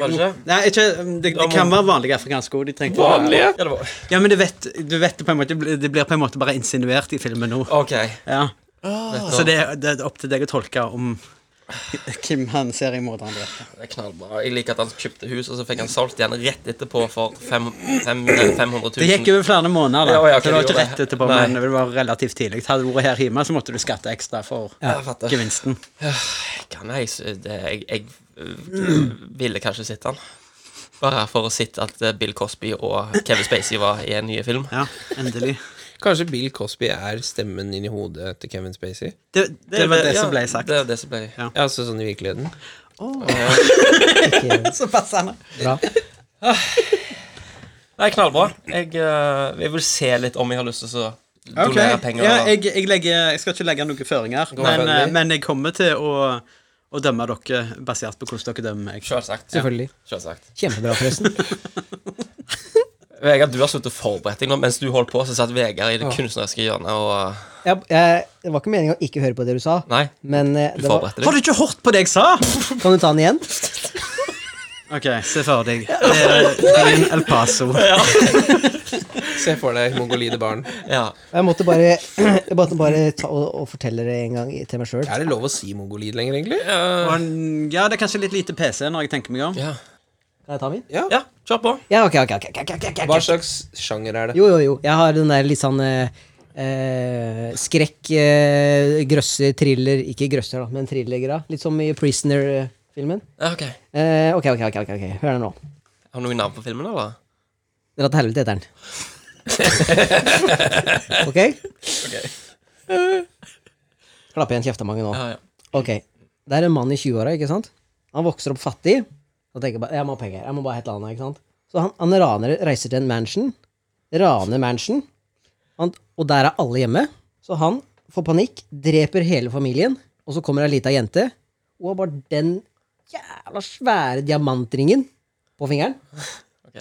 D: var det ikke?
F: Nei, ikke, det, det kan være vanlige afrikanske ord. De trengte
E: Vanlige?
D: Ja, det var
F: Ja, men du vet, du vet det på en måte, det blir på en måte bare insinuert i filmen nå.
D: OK.
F: Ja.
D: nettopp.
F: Så det, det er opp til deg å tolke om hvem han ser i morderen drepte.
D: Det er knallbra. Jeg liker at han kjøpte hus, og så fikk han solgt igjen rett etterpå for fem, fem, eh, 500 000.
F: Det gikk over flere måneder, da.
D: Ja, ja, ok,
F: så det var
D: det
F: ikke
D: gjorde
F: rett
D: det.
F: etterpå,
D: Nei.
F: men det var relativt tidlig. Hadde du vært her hjemme, så måtte du skatte ekstra for
D: Jeg fatter.
F: gevinsten.
D: Kan Øh, jeg, s- det, jeg, jeg øh, ville kanskje sett han. Bare for å sitte at eh, Bill Cosby og Kevin Spacey var i en ny film.
F: Ja, endelig.
E: Kanskje Bill Cosby er stemmen inni hodet til Kevin Spacey?
F: Det, det var det
D: ja,
F: som ble sagt.
D: Det er det som ble
F: Ja.
E: Ja, altså sånn i virkeligheten?
F: Så passende.
C: Bra.
D: Det er knallbra. Jeg, eh, jeg vil se litt om jeg har lyst til å donere penger.
F: Ja,
D: eller-
F: jeg, jeg, legger, jeg skal ikke legge noen føringer, men,
E: veldig.
F: eh, men jeg kommer til å, å dømme dere basert på hvordan dere dømmer meg.
D: Selvsagt.
C: Selvfølgelig.
D: Selvsagt.
C: Kjempebra, forresten.
D: Vegard, du har sluttet å forberede deg nå. Mens du holdt på, så satt Vegard i det kunstneriske hjørnet og eh,
C: Jeg, jeg, det var ikke meningen å ikke høre på det du sa,
D: Nei,
C: men eh,
D: du
C: det var,
D: forberedte
F: Har
D: deg.
F: du ikke hørt på det jeg sa?!
C: Kan du ta den igjen?
F: Ok, se for deg. Det er byen El Paso.
E: Se for deg mongolide barn.
D: Ja.
C: Jeg måtte bare, jeg måtte bare ta og, og fortelle det en gang i- til meg sjøl.
E: Er det lov å si mongolid lenger, egentlig?
F: Og en- Ja, det er kanskje litt lite PC når jeg tenker meg om.
D: ja.
C: Kan jeg ta min?
D: Ja, kjør på.
C: Ja, ok, ok. ok, ok, ok, ok,
B: Hva
C: ok.
B: slags sjanger er det?
C: Jo, jo, jo. Jeg har den der litt sånn eh, eh, skrekk, eh, grøsser, thriller Ikke grøsser, da, men thrillere. Litt som i Prisoner-filmen.
D: Ja, ok.
C: Eh, ok, ok, ok, ok, ok. Hør her nå.
D: Har du noe navn på filmen, eller?
C: Dra til helvete heter den. ok? Klapp igjen kjeftemangen nå.
D: Ja, ja.
C: Ok, Det er en mann i 20-åra, ikke sant? Han vokser opp fattig. Og tenker bare, jeg må ha penger, jeg må bare ha et eller annet, ikke sant? Så han, han raner, reiser til en mansion. Raner mansion. Han, og der er alle hjemme. Så han får panikk, dreper hele familien, og så kommer ei lita jente. Hun har bare den jævla svære diamantringen på fingeren.
D: Ok.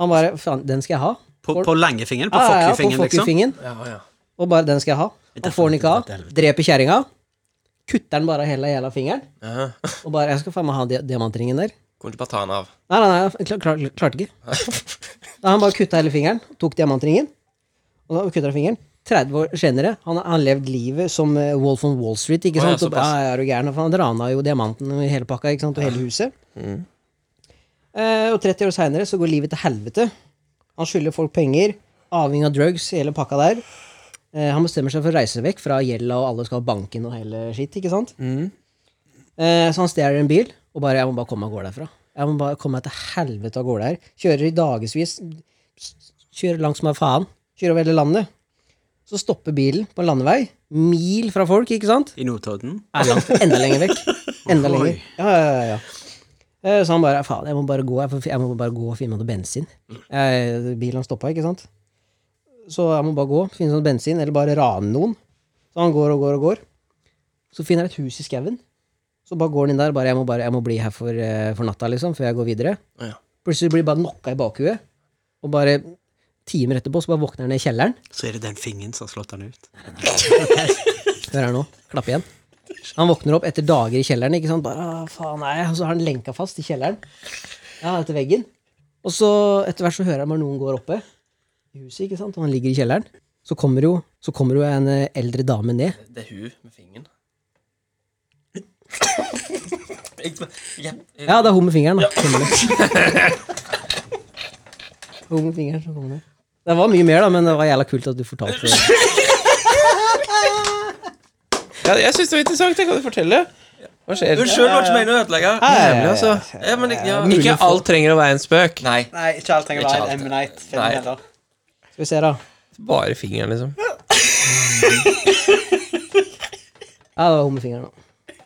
C: Han bare Faen, den skal jeg ha.
F: På, på langefingeren? På
D: Ah,
C: Ja, ja, ja,
F: fuckyfingeren,
C: på
F: liksom?
C: fuckyfingeren.
D: Ja, ja.
C: Og bare den skal jeg ha. Han får den ikke av. Dreper kjerringa. Kutter den bare hele jævla fingeren.
D: Ja.
C: Og bare Jeg skal faen meg ha dia- diamantringen der.
D: Kunne ikke bare ta den av.
C: Nei, nei, nei jeg klar, klar, klarte ikke. Da Han bare kutta hele fingeren, tok diamantringen. Og da kutta han fingeren. 30 år senere, han har han har levd livet som eh, Wolf on Wall Street. ikke
D: Å, ja,
C: sant? Og-
D: såpass.
C: ja, ja, er du gæren? For Han rana jo diamanten og hele pakka ikke sant? og hele huset.
D: Mm.
C: Eh, og 30 år seinere så går livet til helvete. Han skylder folk penger, avhengig av drugs, hele pakka der. Eh, han bestemmer seg for å reise vekk fra gjelda, og alle skal ha banken og hele skitt. ikke sant? Eh, så han stjeler en bil og bare 'Jeg må bare komme meg av gårde herfra'. Jeg må bare komme meg til helvete av gårde her. Kjører i dagevis. Kjører langt som er faen. Kjører over hele landet. Så stopper bilen på en landevei, mil fra folk, ikke sant?
F: I Notodden?
C: Er langt, enda lenger vekk. Enda lenger. Ja, ja, ja, ja. Eh, Så han bare 'faen, jeg må bare gå, jeg får- jeg må bare gå og finne noe bensin'. Eh, Bilen han stoppa, ikke sant? Så jeg må bare gå, finne noe bensin, eller bare rane noen. Så han går og går og går. Så finner han et hus i skauen. Så bare går han inn der. bare, 'Jeg må, bare, jeg må bli her for, eh, for natta, liksom, før jeg går videre'.
D: Ja.
C: Plutselig blir han bare knocka i bakhuet. Og bare timer etterpå så bare våkner han i kjelleren.
F: Så er det den fingeren som har slått han ut.
C: Hør her nå. Klapp igjen. Han våkner opp etter dager i kjelleren. ikke sant? Bare, «Å, faen nei, Og så har han lenka fast i kjelleren. Ja, etter veggen. Og så etter hvert så hører han bare noen går oppe i huset, ikke sant? og han ligger i kjelleren. Så kommer jo, så kommer jo en eh, eldre dame ned.
D: Det er hun med fingeren. Jeg- jeg- jeg-
C: Ja, det er hun med fingeren. da. Kommer det. Hun med fingeren som kommer ned. Det var mye mer, da, men det var jævla kult at du fortalte det.
B: Ja, jeg syns det var interessant. Jeg kan du fortelle. Hva skjer?
D: Unnskyld, var ikke meningen å ødelegge.
B: Jævlig, altså.
D: Ja, men jeg- ja.
B: Ikke alt trenger å være en spøk.
D: Nei.
F: Nei, ikke alt trenger
D: å være en M.
F: Night-film
D: Nei. heller.
C: Skal vi se, da.
B: Bare fingeren, liksom.
C: Ja, det var hun med fingeren. da.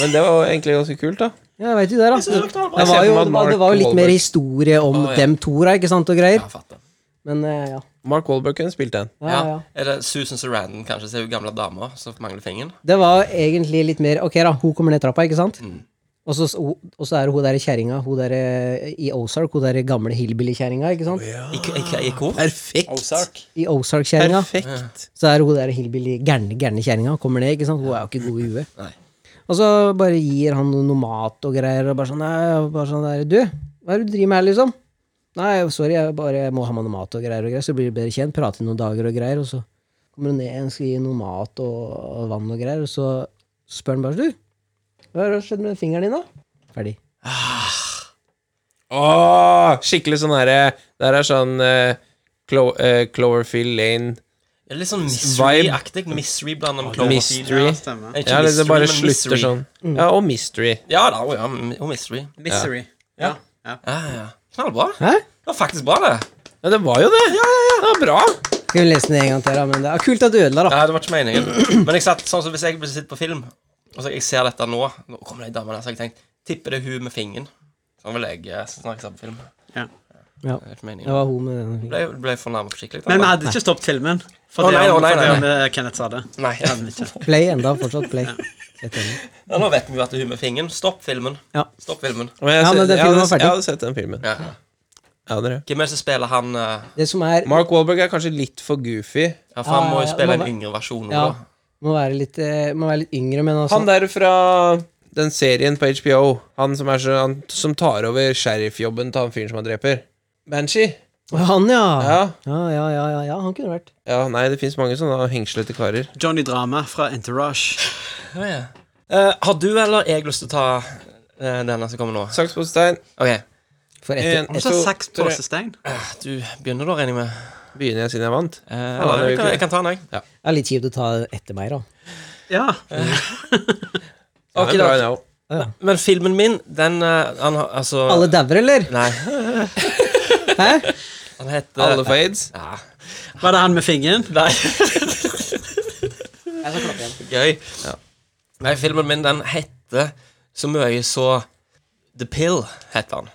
B: Men det var egentlig ganske kult, da.
C: Ja, jeg vet jo det, da. Det
B: Jeg ser
C: var
B: for meg at
C: jo, det var, det
B: Mark
C: var jo litt mer
B: Wahlberg-
C: historie om
D: ja.
C: dem to da, ikke sant, og greier.
D: Ja, fatter.
C: Men eh, ja.
B: Mark Wahlberg kunne spilt den.
C: Ja, ja.
D: Er det Susan Sarandon, kanskje, som er hun gamle dama som mangler fingeren?
C: Det var egentlig litt mer Ok, da, hun kommer ned trappa, ikke sant? Og så, og så er det hun der kjerringa hun der, eh, i Ozark, hun der gamle hillbilly-kjerringa, ikke sant?
D: I, i, i, i kor?
B: Perfekt.
C: I Ozark-kjerringa.
B: Perfekt.
C: Så er hun der hillbilly gærne gærne kjerringa kommer ned, ikke sant? Hun er jo ikke god i huet.
D: Nei.
C: Og så bare gir han noe mat og greier, og bare sånn, nei, bare sånn der, du, hva er det du driver med her, liksom? Nei, sorry, jeg bare må ha meg noe mat og greier, og greier, så blir vi bedre kjent, prater i noen dager og greier, og så kommer hun ned igjen, skal gi noe mat og, og vann og greier, og så spør han bare, du, hva har skjedd med den fingeren din da? Ferdig.
B: Åh, skikkelig sånn herre Der er sånn eh, Clo eh, Cloverfield Lane
D: Er det litt sånn mystery-aktig? Mystery blant dem
B: Mystery.
F: Ja, stemmer.
D: Ikke
B: Ja, det, det
D: mystery,
B: bare
D: men
B: slutter
D: mystery.
B: sånn. Ja, og mystery.
D: Ja da, hun ja, og mystery.
F: Misery. Ja. Ja.
D: Ja, ja, ja. Knallbra.
C: Hæ?
D: Det var faktisk bra, det.
B: Ja, det var jo det! Det var bra.
C: Skal vi lese den en gang til da, men det er kult at du ødela da.
D: Nei, det var ikke meningen. Men jeg satt, sånn som hvis jeg sitter på film, og så jeg ser dette nå Nå kommer det ei dame der, så har jeg tenkt Tipper det er hun med fingeren. Sånn vil jeg eh, snakke sammen på film.
F: Ja.
C: Ja,
D: Det er ikke
C: det
D: meningen.
C: var hun med den fingeren.
D: Ble, ble fornærmet skikkelig.
F: Men vi hadde ikke stoppet filmen. For
D: Å,
F: det
D: nei,
F: om-
D: å, nei,
F: for det
D: nei,
F: om, eh, Kenneth sa det.
D: Nei.
F: Det hadde vi ikke.
C: Play enda, fortsatt play. Rett enig.
D: Ja, nå vet vi jo at det er hun med fingeren. Stopp filmen.
C: Ja.
D: Stopp filmen.
B: Men jeg,
C: Ja,
B: se-
C: men den
B: jeg, hadde,
C: filmen var ferdig.
B: jeg hadde sett den filmen.
D: Ja. ja.
B: Jeg hadde det.
D: Hvem er det som spiller han eh,
C: Det som er...
B: Mark Wahlberg er kanskje litt for goofy.
D: Ja, for han
C: Ja,
D: må
C: Ah, ja,
D: jo
C: ja,
D: spille
C: må
D: en
C: være-
D: yngre versjon nå,
C: Ja.
D: da.
C: Må være litt, eh, må være litt yngre, men altså
B: Han der fra den serien på HBO, han som, er så, han som tar over sheriffjobben til han fyren som han dreper. Banshee.
C: Han, ja.
B: Ja.
C: Ja, ja, ja, ja, ja han kunne vært.
B: ja nei, det fins mange sånne hengslete karer.
F: Johnny Drama fra Entourage.
D: Ja, ja. Eh, har du eller jeg lyst til å ta eh, denne som kommer nå?
B: Sakspoststein.
D: Ok.
C: For etter,
E: En-
F: Om så
E: to,
F: seks
E: tre.
F: påsestein.
D: Du begynner da, regner jeg med.
E: Begynner jeg siden jeg vant?
D: Eh, eller, jeg, kan, jeg kan ta den, jeg.
C: det er litt kjipt å ta etter meg, da.
F: Ja.
E: Ja, det er bra, jeg nå.
D: Men filmen min, den eh, han, har- altså,
C: Alle dauer, eller?
D: Nei.
C: Hæ?
D: Han heter
E: Alle får aids.
D: Ja,
F: Var det han med fingeren?
D: Nei. Gøy. Nei, filmen min, den heter så mye så The Pill, heter han.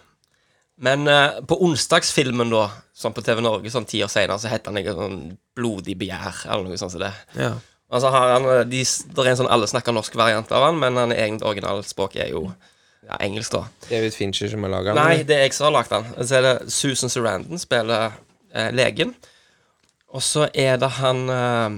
D: Men eh, på onsdagsfilmen, da, sånn på TV Norge sånn ti år senere, så heter han ikke sånn Blodig begjær, eller noe sånt som det.
E: Ja.
D: Altså, har han, eh, de, det er en sånn alle snakker norsk variant av han, men han er egentlig originalspråk er jo ja, engelsk, da.
E: David Fincher som har laga den?
D: Nei,
E: eller?
D: det er jeg som har lagd den. Så er det Susan Sarandon spiller eh, legen. Og så er det han eh,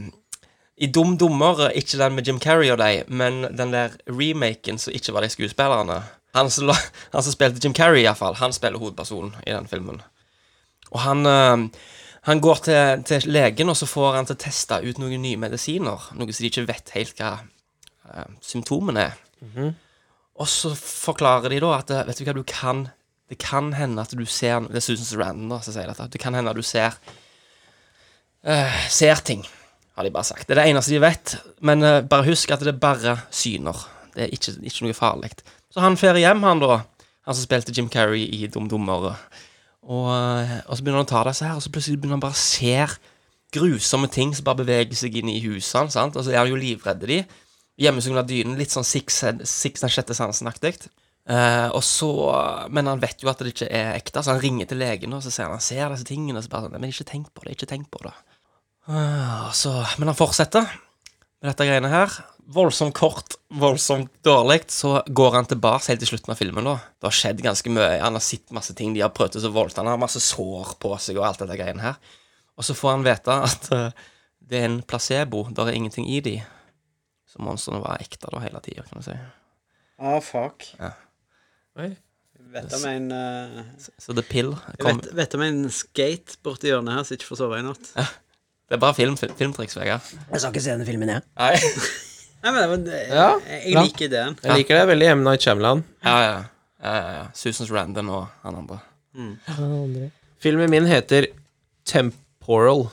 D: I Dum Dummer, eh, ikke den med Jim Carrey og de, men den der remaken som ikke var de skuespillerne. Han som, la- han som spilte Jim Carrey, iallfall, han spiller hovedpersonen i den filmen. Og han eh, han går til, til legen, og så får han til å teste ut noen nye medisiner. Noe som de ikke vet helt hva eh, symptomene er. Og så forklarer de da at eh, vet du hva, du kan det kan hende at du ser Det er Susan Sarandon da, som sier dette. Det kan hende at du ser eh, ser ting, har de bare sagt. Det er det eneste de vet. Men eh, bare husk at det er bare syner. Det er ikke, ikke noe farlig. Så han drar hjem, han da. Han som spilte Jim Carrey i Dum Dummere. Og, eh, og så begynner han å ta disse her, og så plutselig begynner han bare å se grusomme ting som bare beveger seg inn i husene. sant? Og så er han jo livredd de. Gjemmer seg under dynen, litt sånn six, six, den sjette sansen-aktig. Eh, og så, Men han vet jo at det ikke er ekte, så han ringer til legen og så sier han, han ser disse tingene. Og så bare sånn, men ikke tenk på det, ikke tenk på det. Ah, så, men han fortsetter med dette greiene her. Voldsomt kort, voldsomt dårlig. Så går han tilbake helt til slutten av filmen. da Det har skjedd ganske mye. Han har sett masse ting de har prøvd så voldsomt. Han har masse sår på seg og alt dette greiene her. Og så får han vite at eh, det er en placebo. Der er ingenting i de. Så monstrene var ekte da hele tida, kan du si.
F: Ah, fuck.
D: Ja.
E: Oi.
F: Vet om en eh,
D: Så The Pill
F: jeg
D: kom
F: vet, vet om en skate borti hjørnet her som ikke får sove i natt.
D: Det er bare film, fil- filmtriks, Vegard.
C: Jeg skal ikke se denne filmen, jeg.
D: Nei.
F: Nei, men, det var- det-
E: Ja,
F: jeg,
C: bra.
F: jeg liker ideen.
E: Jeg liker det veldig. M. Night Shyamalan.
D: Ja, ja. ja, ja, ja. Susans Randon og han andre.
E: Filmen min heter Temporal.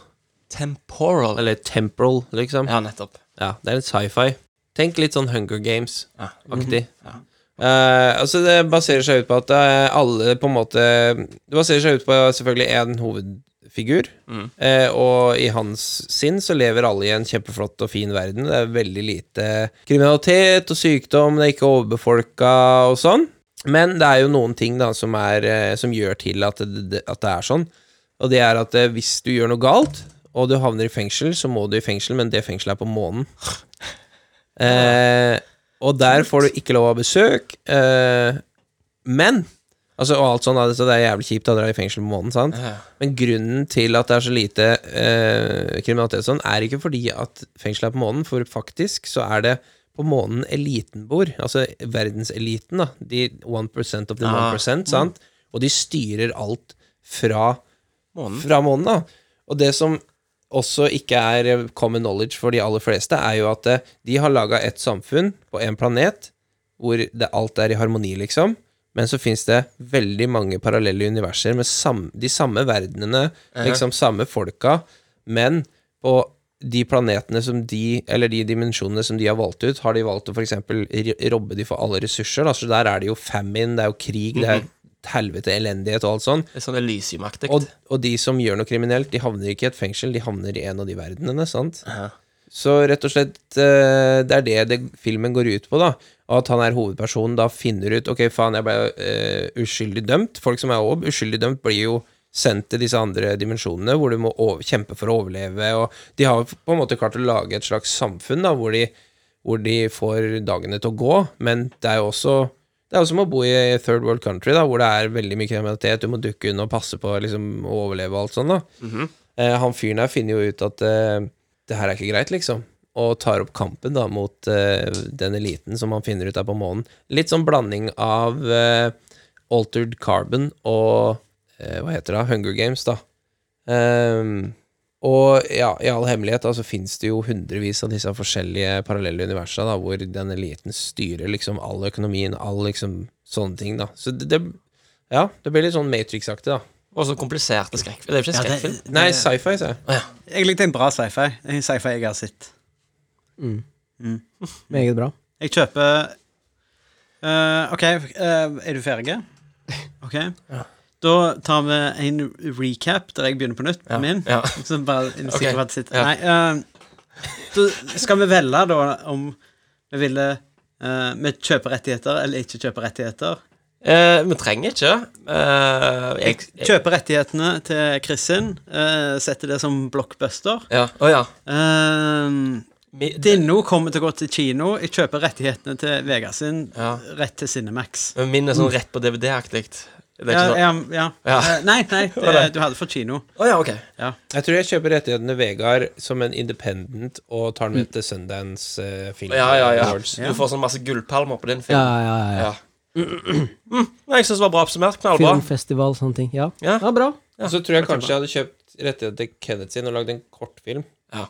D: Temporal.
E: Eller Temporal, liksom. Ja,
D: Ja, nettopp.
E: Det er litt sci-fi. Tenk litt sånn Hunger Games-aktig.
D: Ja. Ja.
E: Eh, altså Det baserer seg ut på at eh, alle på en måte Det baserer seg ut på selvfølgelig én hovedfigur,
D: Mm.
E: eh, og i hans sinn så lever alle i en kjempeflott og fin verden. Det er veldig lite kriminalitet og sykdom, det er ikke overbefolka og sånn. Men det er jo noen ting da som, er, eh, som gjør til at det, at det er sånn. Og det er at eh, hvis du gjør noe galt, og du havner i fengsel, så må du i fengsel, men det fengselet er på månen. Eh, og der får du ikke lov av besøk. Eh, men Altså, og alt sånn, da, så Det er jævlig kjipt å dra i fengsel på månen, sant?
D: Ja.
E: men grunnen til at det er så lite eh, kriminalitet og sånn, er ikke fordi at fengselet er på månen, for faktisk så er det på månen eliten bor. Altså verdenseliten, da. De 1 of the
D: Ah.
E: 1 sant? Og de styrer alt fra
D: Månen.
E: fra månen. da. Og det som også ikke er common knowledge for de aller fleste, er jo at eh, de har laga et samfunn på en planet hvor det, alt er i harmoni, liksom. Men så fins det veldig mange parallelle universer med sam, de samme verdenene, liksom samme folka, men på de planetene som de, eller de dimensjonene som de har valgt ut, har de valgt å for eksempel ri- robbe de for alle ressurser. Da. Så der er det jo famine, det er jo krig, det er helvete, elendighet og alt sånn.
D: Litt sånn Elysium-aktig.
E: Og, og de som gjør noe kriminelt, de havner ikke i et fengsel, de havner i en av de verdenene. sant?
D: Ja.
E: Så rett og slett, eh, det er det, det filmen går ut på, da. Og at han er hovedpersonen da finner ut Ok, faen, jeg ble eh, uskyldig dømt. Folk som er òg uskyldig dømt, blir jo sendt til disse andre dimensjonene, hvor du må over, kjempe for å overleve. Og de har jo på en måte klart å lage et slags samfunn da, hvor de, hvor de får dagene til å gå, men det er jo også det er jo som å bo i third world country, da, hvor det er veldig mye kriminalitet. Du må dukke unna og passe på liksom, å overleve og alt sånt. da. eh, han fyren her finner jo ut at eh, det her er ikke greit, liksom. Og tar opp kampen da mot eh, den eliten som han finner ut er på månen. Litt sånn blanding av eh, Altered Carbon og eh, Hva heter det? Hunger Games, da. Ehm, og ja, i all hemmelighet da, så
B: altså,
E: fins det jo hundrevis av disse forskjellige parallelle universa da, hvor den eliten styrer liksom all økonomien, all liksom sånne ting, da. Så det, det
B: Ja, det blir litt sånn Matrix-aktig, da.
D: Og så kompliserte skrekkfilm. Det er jo ikke en
F: Ja, det-
D: skrekkfilm.
B: Nei, sci-fi, sa jeg.
F: Jeg likte en bra sci-fi. En sci-fi jeg har sett.
C: Meget bra.
F: Jeg kjøper eh, OK, eh, er du ferdig? OK. Da tar vi en recap der jeg begynner på nytt på min.
D: ja.
F: Så bare en
D: Ok,
F: sikkerhet sitt.
D: ja.
F: Nei, eh, da skal vi velge da om vi ville eh, Vi kjøper rettigheter eller ikke kjøper rettigheter.
D: Eh, vi trenger ikke eh, jeg, jeg,
F: Kjøper rettighetene til Kristin. eh, setter det som blockbuster.
D: Ja. Å ja.
F: Eh,
D: Vi,
F: Dinno kommer til å gå til kino. Jeg kjøper rettighetene til Vegard sin.
D: Ja.
F: Rett til Cinemax.
D: men min er sånn rett på DVD-aktig. Det er
F: Ja,
D: ikke sånn Å ja,
F: ja, ja.
D: Ja.
F: Eh, nei, nei, det, du hadde fått kino.
D: ok.
B: Jeg tror jeg kjøper rettighetene Vegard som en independent og tar den med til Sundance eh, Film
D: Ja, ja, ja.
B: Awards.
D: Du får sånn masse gullpalmer på din film.
C: Ja, ja, ja. ja.
D: Ja. Mm, nei, jeg syns det var bra oppsummert. Knallbra.
C: Filmfestival, sånne ting. Ja.
D: Ja.
C: ja, bra.
B: Og så tror jeg kanskje jeg hadde kjøpt rettighetene til Kenneth sin og lagd en kortfilm.
D: Ja.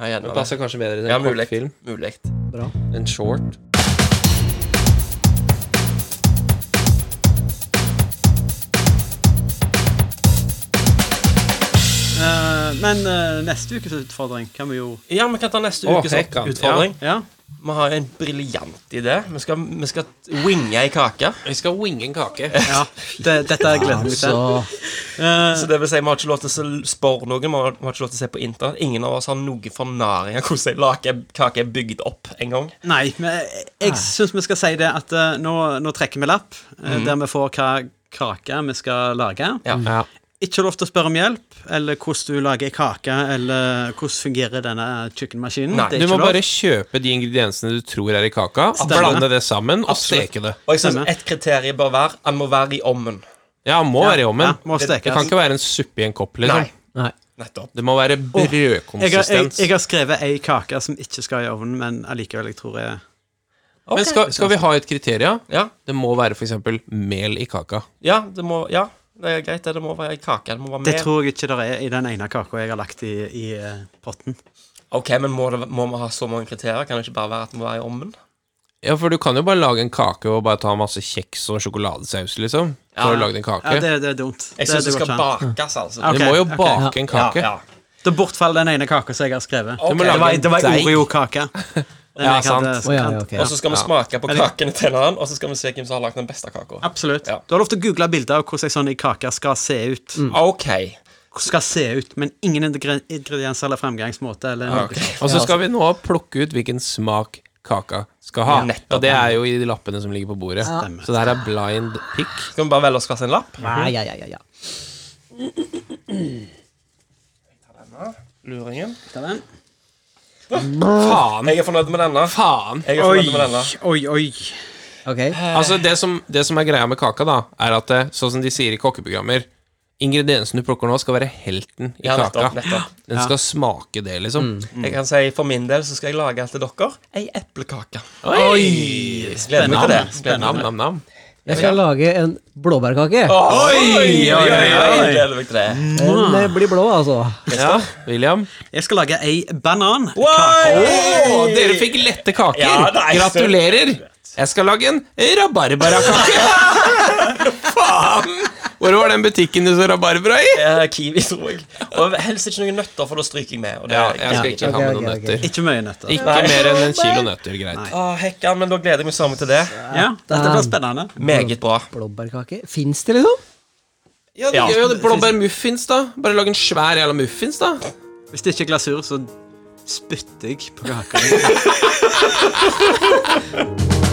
D: Ja, gjerne
B: Det
D: det.
B: passer kanskje bedre enn
D: Ja,
B: en
D: mulig.
B: kortfilm.
D: mulig.
C: bra.
B: En short.
F: Eh, men eh, neste ukes utfordring kan vi jo
D: Ja, vi kan ta neste
B: Å,
D: ukes
B: hekkan.
D: utfordring.
F: Ja.
D: Vi har en briljant idé. Vi skal, vi skal winge ei kake.
E: Vi skal winge en kake.
F: ja. Det, dette gleder jeg meg til.
C: Så
D: Så det vil si, Vi har ikke lov til å se- spørre noen, vi har, vi har ikke lov til å se på internett. Ingen av oss har noe fornaring av hvordan ei lake- kake er bygd opp en gang.
F: Nei, men jeg syns vi skal si det at eh, nå, nå trekker vi lapp, eh, der vi får hva kake vi skal lage.
D: Mhm. Ja.
F: Ikke lov til å spørre om hjelp, eller hvordan du lager ei kake, eller hvordan fungerer denne kjøkkenmaskinen.
D: Nei.
F: det
E: Du
F: er
E: må
F: ikke lov.
E: bare kjøpe de ingrediensene du tror er i kaka,
F: Stemmer.
E: blande det sammen og
F: Absolutt.
E: steke det.
D: Og jeg synes
F: Stemmer.
D: Et kriterium bør være han må være i ovnen.
E: Ja, han må
F: Ja,
E: være i ovnen.
F: ja, må
E: det, det
F: stekes.
E: kan ikke være en suppe i en kopp, liksom.
D: Nei.
C: Nei.
D: Nettopp.
E: Det må være
F: jeg, har, jeg,
E: brødkonsistens.
F: jeg har skrevet ei kake som ikke skal i ovnen, men allikevel jeg tror jeg
E: Men skal, skal vi ha et kriterium?
D: Ja,
E: Det må være f.eks. mel i kaka.
D: ja, det må, ja, det er greit. Det, det må være ei kake. Det må være
F: Det
D: mer.
F: tror jeg ikke det er i den ene kaka jeg har lagt i, i eh, potten.
D: Ok, men må, det, må vi ha så mange kriterier? Kan det ikke bare være at det må være i ovnen?
E: Ja, for du kan jo bare lage en kake og bare ta masse kjeks og sjokoladesaus, liksom. For å lage en kake.
F: Ja, det, det er dumt.
D: Jeg syns det,
F: går
D: skal
F: ikke an.
D: bakes, altså.
F: Ja,
E: Du
F: ok,
E: må jo
F: ok.
E: bake en kake.
D: Ja, ja.
F: Da bortfaller den ene kaka som jeg har skrevet.
D: Ok.
F: Det var, det var
E: Deig.
F: Oreo-kake. Den
E: Ja,
F: jeg hadde-
E: sant.
C: Å, ja, ja, ok.
D: Og så skal vi smake på kakene til en annen, og så skal vi se hvem som har lagd den beste kaka.
F: Absolutt.
D: Ja. Mm.
F: Du har lov til å google bilder av hvordan en sånn kake skal se ut.
D: Ok.
F: Hvordan skal se ut, Men ingen ingre- ingredienser eller fremgangsmåte. Eller noe.
E: Og så skal vi
F: altså.
E: nå plukke ut hvilken smak kaka skal ha.
D: Ja, nettopp.
E: og det er jo i de lappene som ligger på bordet. Så det her er blind pick.
D: Skal vi bare velge oss hver sin lapp?
C: Nei, ja, ja, ja, ja.
D: Luringen.
F: Ta den.
E: Faen!
D: Jeg er fornøyd med denne.
E: Faen!
D: Jeg er
F: Oi,
D: fornøyd med denne.
F: oi, oi.
C: Ok.
E: Altså, det som, det som er greia med kaka, da, er at eh, sånn som de sier i kokkeprogrammer Ingrediensene du plukker nå, skal være helten i
D: Ja,
E: kaka.
D: nettopp, nettopp.
E: Den skal smake det, liksom.
D: Jeg kan si For min del så skal jeg lage til dere ei eplekake.
E: Oi!
D: Gleder meg til det. Gleder meg
E: Nam, nam, nam.
C: Jeg skal lage en blåbærkake.
D: Oi, oi, oi, oi. Gleder meg til det.
C: Den eh, blir blå, altså.
E: Ja, William.
F: Jeg skal lage ei banan.
E: Å, dere fikk lette kaker!
D: Ja, nei, så-
E: Gratulerer! Jeg skal lage en rabarbarakake. Faen! Hvor var den butikken du så rabarbra i?
D: Eh, Kiwi, tror jeg. Og helst ikke noen nøtter, for da stryker jeg med. Og det,
E: Ja, jeg skal ikke
C: ok,
E: ha med noen
C: ok, ok.
E: nøtter.
F: Ikke mye nøtter.
E: Ikke mer enn en kilo nøtter, greit.
D: Å, hekkan, Ah, men da gleder jeg meg sammen til det.
F: Ja, Dette blir spennende.
D: Meget bra.
C: Blåbærkake. Fins det, liksom?
E: Ja,
D: Ja.
E: ja. Blåbærmuffins, da. Bare lag en svær jævla muffins, da.
F: Hvis det ikke er glasur, så spytter jeg på kaka.